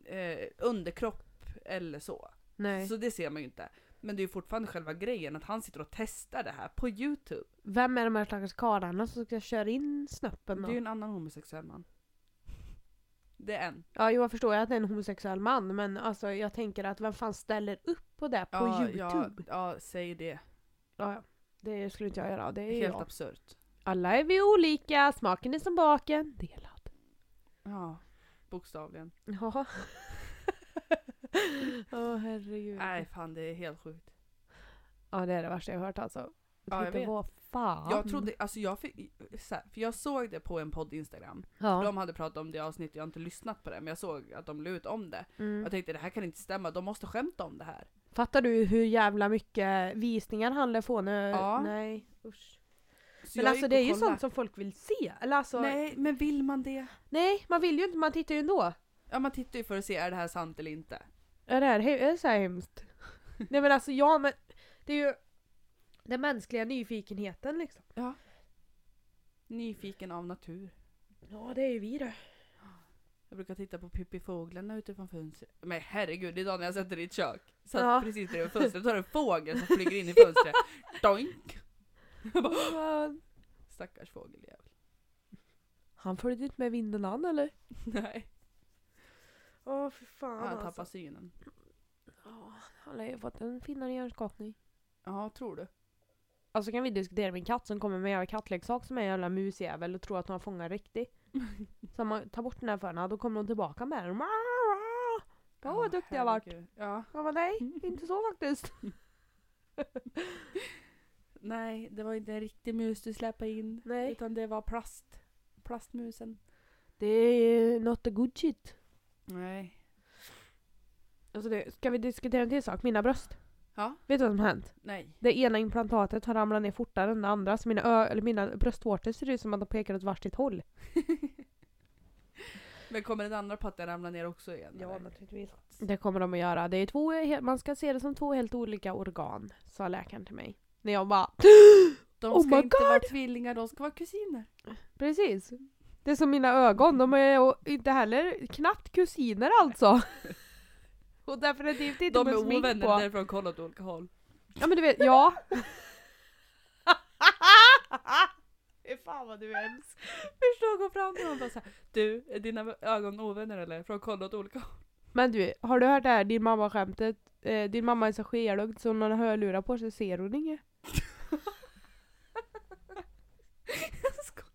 eh, underkropp eller så. Nej. Så det ser man ju inte. Men det är ju fortfarande själva grejen att han sitter och testar det här på Youtube. Vem är de här stackars karlarna som ska köra in snöppen Det då? är ju en annan homosexuell man. Det är en. Ja, jo, jag förstår ju att det är en homosexuell man men alltså jag tänker att vem fan ställer upp på det på Ja, youtube? ja, säg det. Ja, ja. Det skulle inte jag göra. Det är Helt Helt jag. absurt. Alla är vi olika, smaken är som baken, delad. Ja, bokstavligen. Ja. Åh herregud. Nej, fan det är helt sjukt. Ja det är det värsta jag har hört alltså. Ja, jag Titta, vet. Vad fan. Jag trodde, alltså jag fick, så här, för jag såg det på en podd Instagram. Ja. De hade pratat om det i avsnittet, jag har inte lyssnat på det, men jag såg att de la ut om det. Mm. Jag tänkte det här kan inte stämma, de måste skämta om det här. Fattar du hur jävla mycket visningar han lär få nu? Ja. Nej. Usch. Så Men jag alltså gick det är och ju kollade. sånt som folk vill se. Eller alltså, nej. Nej, men vill man det? man vill ju inte, man tittar ju ändå. Ja man tittar ju för att se, är det här sant eller inte? Är det här he- är det så här hemskt? nej men alltså ja men det är ju den mänskliga nyfikenheten liksom. Nyfiken av natur. Ja det är ju vi det. Jag brukar titta på Pippi-fåglarna utifrån fönstret. Men herregud, det är idag när jag sätter i ett kök. Satt Ja. precis bredvid fönstret, då är det en fågel som flyger in i fönstret. Doink! Jag bara, Fan. Stackars fågeljävel. Han följde inte med vinden han eller? Nej, Åh för fan han alltså. tappar synen. Ja, han har ju fått en finare hjärnskakning. Ja, tror du? Alltså kan vi diskutera min katt som kommer med en jävla kattleksak som är en jävla musjävel och tror att hon har fångat riktigt. Så om man tar bort den här för henne, då kommer hon tillbaka med den. Åh vad duktig jag varit. herregud. Ja. Jag bara nej, inte så faktiskt. Nej, det var inte en riktig mus du släppte in. Nej. Utan det var plast. Plastmusen. Det är not a good shit. Nej. Alltså det, ska vi diskutera en till sak? Mina bröst. Ja. Vet du vad som har hänt? Nej. Det ena implantatet har ramlat ner fortare än det andra så mina, ö- eller mina bröstvårtor ser ut som att de pekar åt varsitt håll. Men kommer den andra patten ramla ner också igen? eller? naturligtvis. Det kommer de att göra. Det är två, he- man ska se det som två helt olika organ, sa läkaren till mig. När jag bara De Oh ska my inte vara tvillingar, de ska vara kusiner. Precis. Det är som mina ögon, de är o- inte heller knappt kusiner alltså. Och definitivt inte De med är smink ovänner, på. därför de kollar åt olika håll. Ja men du vet, ja. Fy fan vad du är hemsk. Förstår gå fram till honom och bara såhär, du, är dina ögon ovänner eller? För de kollar åt olika håll. Men du, har du hört det här din mamma-skämtet? Eh, din mamma är så skelögd så när hon har hörlurar på sig ser hon inget. Jag skojar.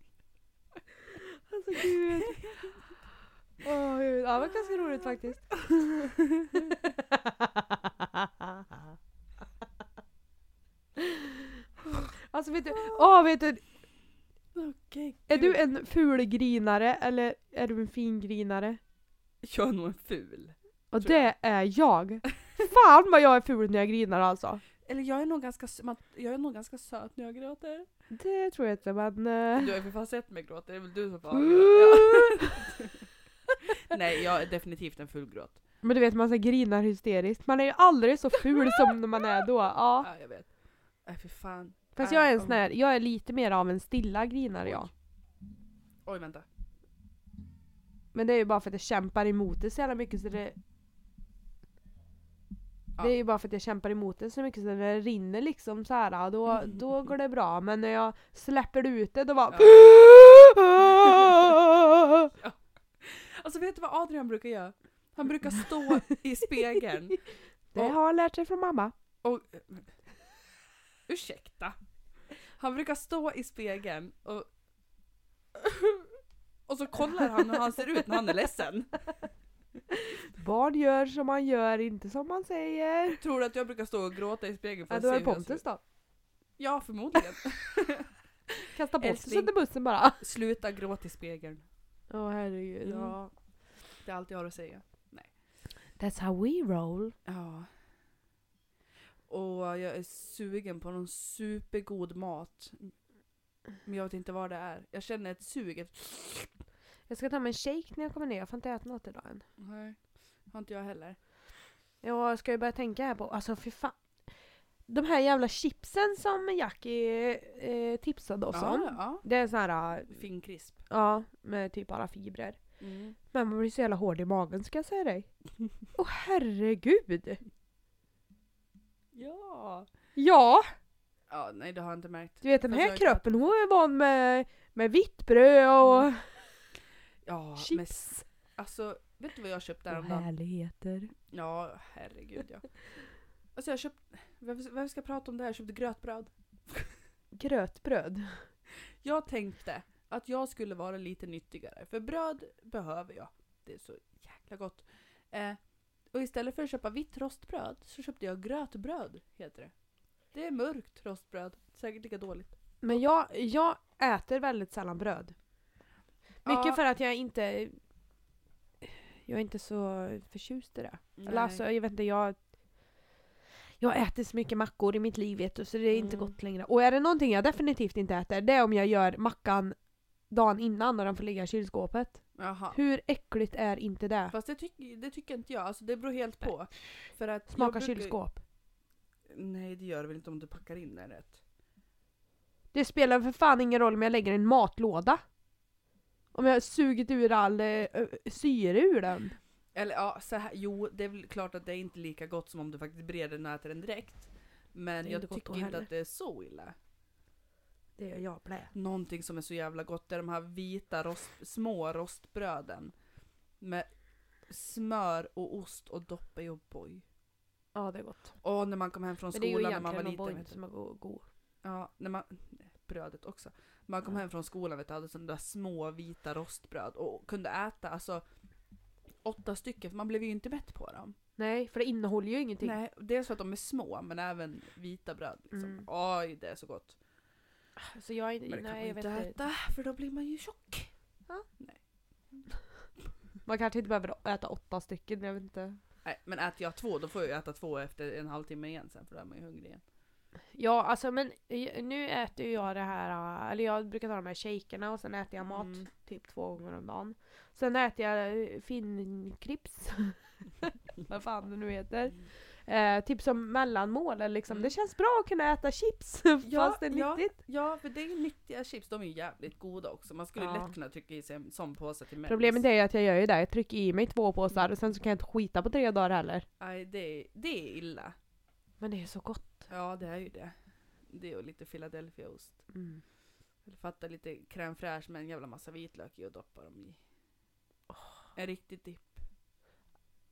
Alltså gud. Åh, gud. Ja, det var ganska roligt faktiskt. alltså vet du, åh vet du, Okej, är gud. du en fulgrinare eller är du en fingrinare? Jag är nog en ful. Och Tror jag. det är jag. Fan vad jag är ful när jag grinar alltså. Eller jag är nog ganska, sö- man- jag är nog ganska söt när jag gråter. Det tror jag inte men... eh, Du har ju för fan sett mig gråta, det är väl du som får avgöra. Ja. Nej, jag är definitivt en ful gråt. Men du vet man så grinar hysteriskt. Man är ju aldrig så ful som när man är då. Ja. Ja, jag vet. Nej, för fan. Fast jag är en sån här, jag är lite mer av en stilla grinare jag. Oj, vänta. Men det är ju bara för att jag kämpar emot det så jävla mycket så det... Ja. Det är ju bara för att jag kämpar emot det så mycket så när det rinner liksom så här, då, då går det bra. Men när jag släpper ut det då bara... Alltså vet du vad Adrian brukar göra? Han brukar stå i spegeln Det har han lärt sig från mamma. och... Ursäkta. Han brukar stå i spegeln och... Och så kollar han hur han ser ut när han är ledsen. Barn gör som man gör, inte som man säger. Tror du att jag brukar stå och gråta i spegeln för Ja, att då är se det hur jag ser Pontus ut? då. Ja, förmodligen. Kasta Pontus Älskling. under bussen bara. Sluta gråta i spegeln. Åh herregud. Mm. Ja. Det är allt jag har att säga. That's how we roll. Ja. Och jag är sugen på någon supergod mat. Men jag vet inte vad det är. Jag känner ett sug. Ett... Jag ska ta mig en shake när jag kommer ner, jag får inte äta något idag än. Nej, har inte jag heller. Jag ska ju börja tänka här på, alltså fy fan. De här jävla chipsen som Jackie eh, tipsade oss om. Ja, Det är sån här, eh, ja. Fin krisp. ja, med typ alla fibrer. Mm. Men man blir så jävla hård i magen ska jag säga dig. Åh herregud! Ja. Ja! Ja, nej det har jag inte märkt. Du vet den Fast här jag har ju kroppen, hon är van med, med vitt bröd och Mm. Ja, men s- chips. alltså vet du vad jag köpte Och häromdagen? härligheter. Ja, herregud ja. Alltså jag köpte, vem, vem ska prata om det här? Jag köpte grötbröd. Grötbröd. Jag tänkte att jag skulle vara lite nyttigare, för bröd behöver jag. Det är så jäkla gott. Eh, och istället för att köpa vitt rostbröd så köpte jag grötbröd, heter det. Det är mörkt rostbröd, säkert lika dåligt. Men jag, jag äter väldigt sällan bröd. Mycket Ja, för att jag inte... Jag är inte så förtjust i det. nej. Eller alltså, jag vet inte, jag... Jag äter så mycket mackor i mitt liv vet du, så det är inte Mm. gott längre. Och är det någonting jag definitivt inte äter, det är om jag gör mackan dagen innan och den får ligga i kylskåpet. Jaha. Hur äckligt är inte det? Fast det, tyck, det tycker inte jag, alltså det beror helt på. För att jag Smaka brukar- kylskåp. Nej det gör det väl inte om du packar in den rätt. Det spelar för fan ingen roll om jag lägger i en matlåda. Om jag har sugit ur all eh, ö- syre ur den. Eller ja, så här, jo det är väl klart att det är inte lika gott som om du faktiskt breder den och äter den direkt. Men Det är jag inte gott tycker då inte heller. att det är så illa. Det gör jag blä. Någonting som är så jävla gott är de här vita rost, små rostbröden. Med smör och ost och doppa i O'boy. Ja, det är gott. Och när man kom hem från Men det är ju skolan när man var egentligen liten. O'boy vet du. som är go- god. Ja, när man, nej, brödet också. Man kom Ja. hem från skolan vet du, hade sådana där små vita rostbröd och kunde äta alltså åtta stycken för man blev ju inte mätt på dem. Nej, för det innehåller ju ingenting. Nej, dels för att de är små men även vita bröd. Liksom. Mm. Oj, det är så gott. Så jag, är- Men det kan man nej, jag ju vet inte inte. äta för då blir man ju tjock. Man kanske inte behöver äta åtta stycken, jag vet inte. Nej, men äter jag två då får jag ju äta två efter en halvtimme igen sen för då är man ju hungrig igen. Ja, alltså men eh, nu äter ju jag det här, eh, eller jag brukar ta de här shakerna och sen äter jag mat Mm. typ två gånger om dagen. Sen äter jag eh, finkrips, vad fan det nu heter. Eh, typ som mellanmål, eller liksom. Mm. det känns bra att kunna äta chips Ja, fast det är ja. nyttigt. Ja, för det är ju nyttiga chips. De är ju jävligt goda också. Man skulle ju Ja. lätt kunna trycka i sig en sån påse till mellis. Problemet är ju att jag gör ju det, jag trycker i mig två påsar och sen så kan jag inte skita på tre dagar heller. Nej, det är, det är illa. Men det är så gott. Ja, det är ju det. Det är ju lite Philadelphiaost. Mm. Eller fatta lite crème fraîche med en jävla massa vitlök i och doppa dem i. En riktig dipp.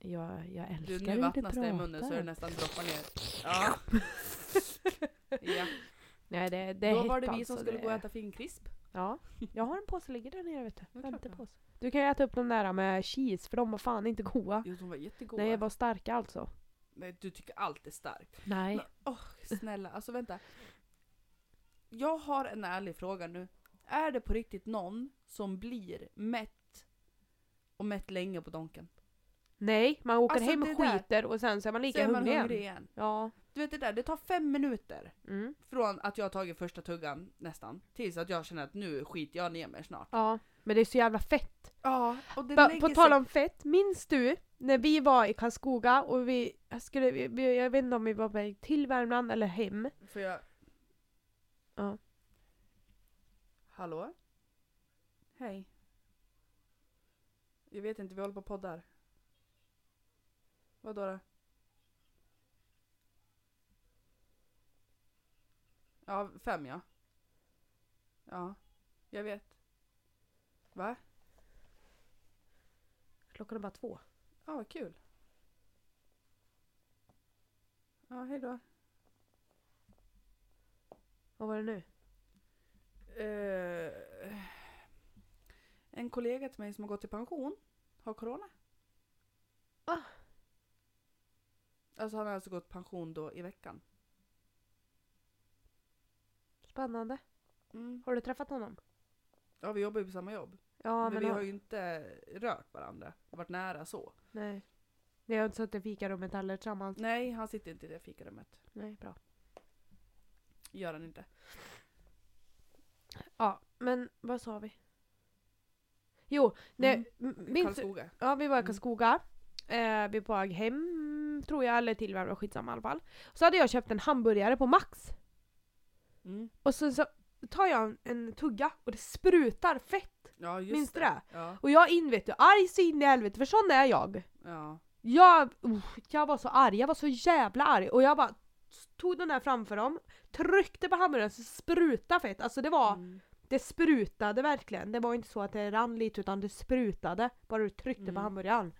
Jag, jag älskar Du, hur nu vattnas det i pratar. munnen så det nästan droppar ner. Ja. ja. Nej, det, det är Då var hett det vi som alltså, skulle det- gå och äta finkrisp. Ja, jag har en påse ligger där nere vet du. Ja, klart Femte du har. påse. Du kan ju äta upp de där med cheese för de var fan inte goa. Jo, de var jättegoda. Nej, var starka alltså. Nej, du tycker allt är starkt. Nej. Men- Snälla, alltså vänta. Jag har en ärlig fråga nu. Är det på riktigt någon som blir mätt och mätt länge på Donken? Nej, man åker Alltså, hem det och där- skiter och sen så är man Så lika är man hungrig hungrig igen. igen. Ja. Du vet det där, det tar fem minuter Mm. från att jag har tagit första tuggan nästan tills att jag känner att nu skiter jag ner mig snart. ja. Men det är så jävla fett. Ja, och det Ba- lägger På sig- tal om fett, minns du när vi var i Karlskoga och vi skulle, vi- vi, jag vet inte om vi var på väg till Värmland eller hem. För jag... Ja. Hallå? Hej. Jag vet inte, vi håller på och poddar. Vadå då? Ja, fem ja. Ja, jag vet. Va? Klockan är bara två. Ja, vad kul. Ja, hej då. Vad var det nu? Eh, en kollega till mig som har gått i pension har corona. Ah. Alltså han har alltså gått pension då i veckan. Spännande. Mm. Har du träffat honom? Ja vi jobbar ju på samma jobb. Ja, men, men, vi han- har ju inte rört varandra. Varit nära så. Nej. Ni har inte suttit i fikarummet heller tillsammans? Nej han sitter inte i det fikarummet. Nej, bra. Gör han inte. Ja, men vad sa vi? Jo, nej, m- minns du? Karlskoga. Ja, vi var i Mm. Karlskoga. Eh, vi var på väg hem, tror jag, eller till Värmland, skitsamma i alla fall. Så hade jag köpt en hamburgare på Max. Mm. Och så, så tar jag en, en tugga och det sprutar fett. Ja just Minns du det? Ja. Och jag är in, vet du, arg så in i helvete, för sån är jag. ja. Jag, uff, jag var så arg, jag var så jävla arg. Och jag bara tog den här framför dem, tryckte på hamburgaren så sprutade fett. Alltså det var... Mm. Det sprutade verkligen. Det var inte så att det rann lite utan det sprutade. Bara du tryckte på Mm. hamburgaren.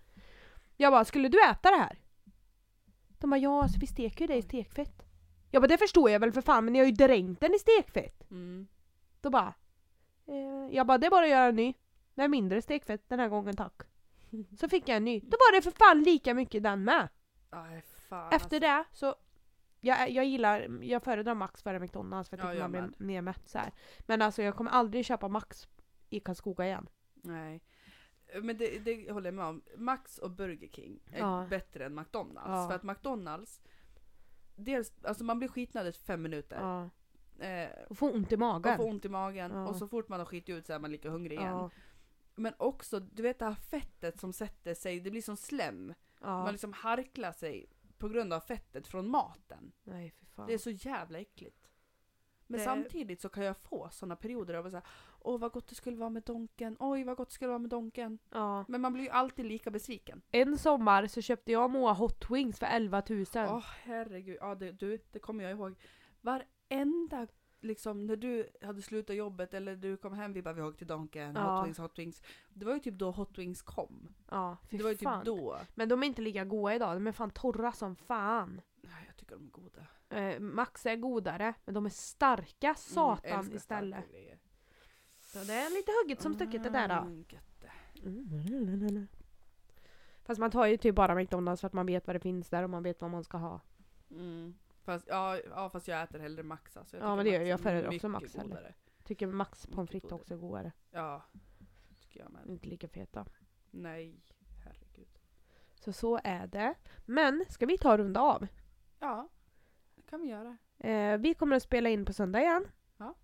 Jag bara, skulle du äta det här? De bara, ja alltså, vi steker ju det i Oj. stekfett. Jag bara, det förstår jag väl för fan men ni har ju dränkt den i stekfett. Mm. Då bara, eh, jag bara, det är bara att göra en ny. Med mindre stekfett den här gången tack. Så fick jag en ny. Då var det för fan lika mycket den med. Aj, fan, alltså. Efter det så jag, jag gillar, jag föredrar Max före McDonalds för att Ja, tycker jag man blir med. mer mätt så här. Men alltså jag kommer aldrig köpa Max i Karlskoga igen. Nej. Men det, det håller jag med om. Max och Burger King är Ja. bättre än McDonalds. Ja. För att McDonalds, dels, alltså man blir skitnödig fem minuter. Ja. Eh, Och få ont i magen. och får ont i magen Ja. och så fort man har skitit ut så är man lika hungrig igen. ja. Men också, du vet det här fettet som sätter sig, det blir som slem. ja. Man liksom harklar sig på grund av fettet från maten. Nej fy fan. Det är så jävla äckligt. Men Det- samtidigt så kan jag få sådana perioder av att säga Åh vad gott det skulle vara med donken, oj vad gott det skulle vara med donken. Ja. Men man blir ju alltid lika besviken. En sommar så köpte jag Moa Hot Wings för 11 000. Åh herregud, ja, det, du, det kommer jag ihåg. Varenda, liksom när du hade slutat jobbet eller du kom hem, vi bara vi åkte till Donken, Ja. Hot Wings, Hot Wings. Det var ju typ då Hot Wings kom. Ja, fy det var ju typ fan. då. Men de är inte lika goda idag, de är fan torra som fan. Nej, jag tycker de är goda. Mm, Eh, Max är godare, men de är starka satan älskar istället. starka grejer. Så det är lite hugget som stucket det där då. Mm, gött. Fast man tar ju typ bara McDonalds för att man vet vad det finns där och man vet vad man ska ha. Mm. Fast, ja, ja, fast jag äter hellre Max alltså. Ja, tycker men det gör Max jag. Jag är föredrar också mycket Max heller. godare. Tycker Max Mycket pommes frites godare. också är godare. Ja, tycker jag med. Inte lika feta. Nej, herregud. Så så är det. Men ska vi ta och runda av? Ja, det kan vi göra. Eh, vi kommer att spela in på söndag igen. Ja.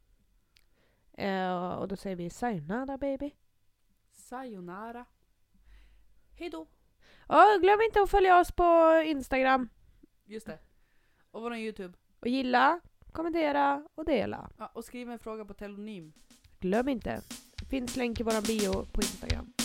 Eh, och då säger vi sayonara baby. Sayonara. Hejdå. Ja, glöm inte att följa oss på Instagram. Just det. Och vår Youtube. Och gilla, kommentera och dela. Ja, och skriv en fråga på telonym. Glöm inte. Finns länk i våran bio på Instagram.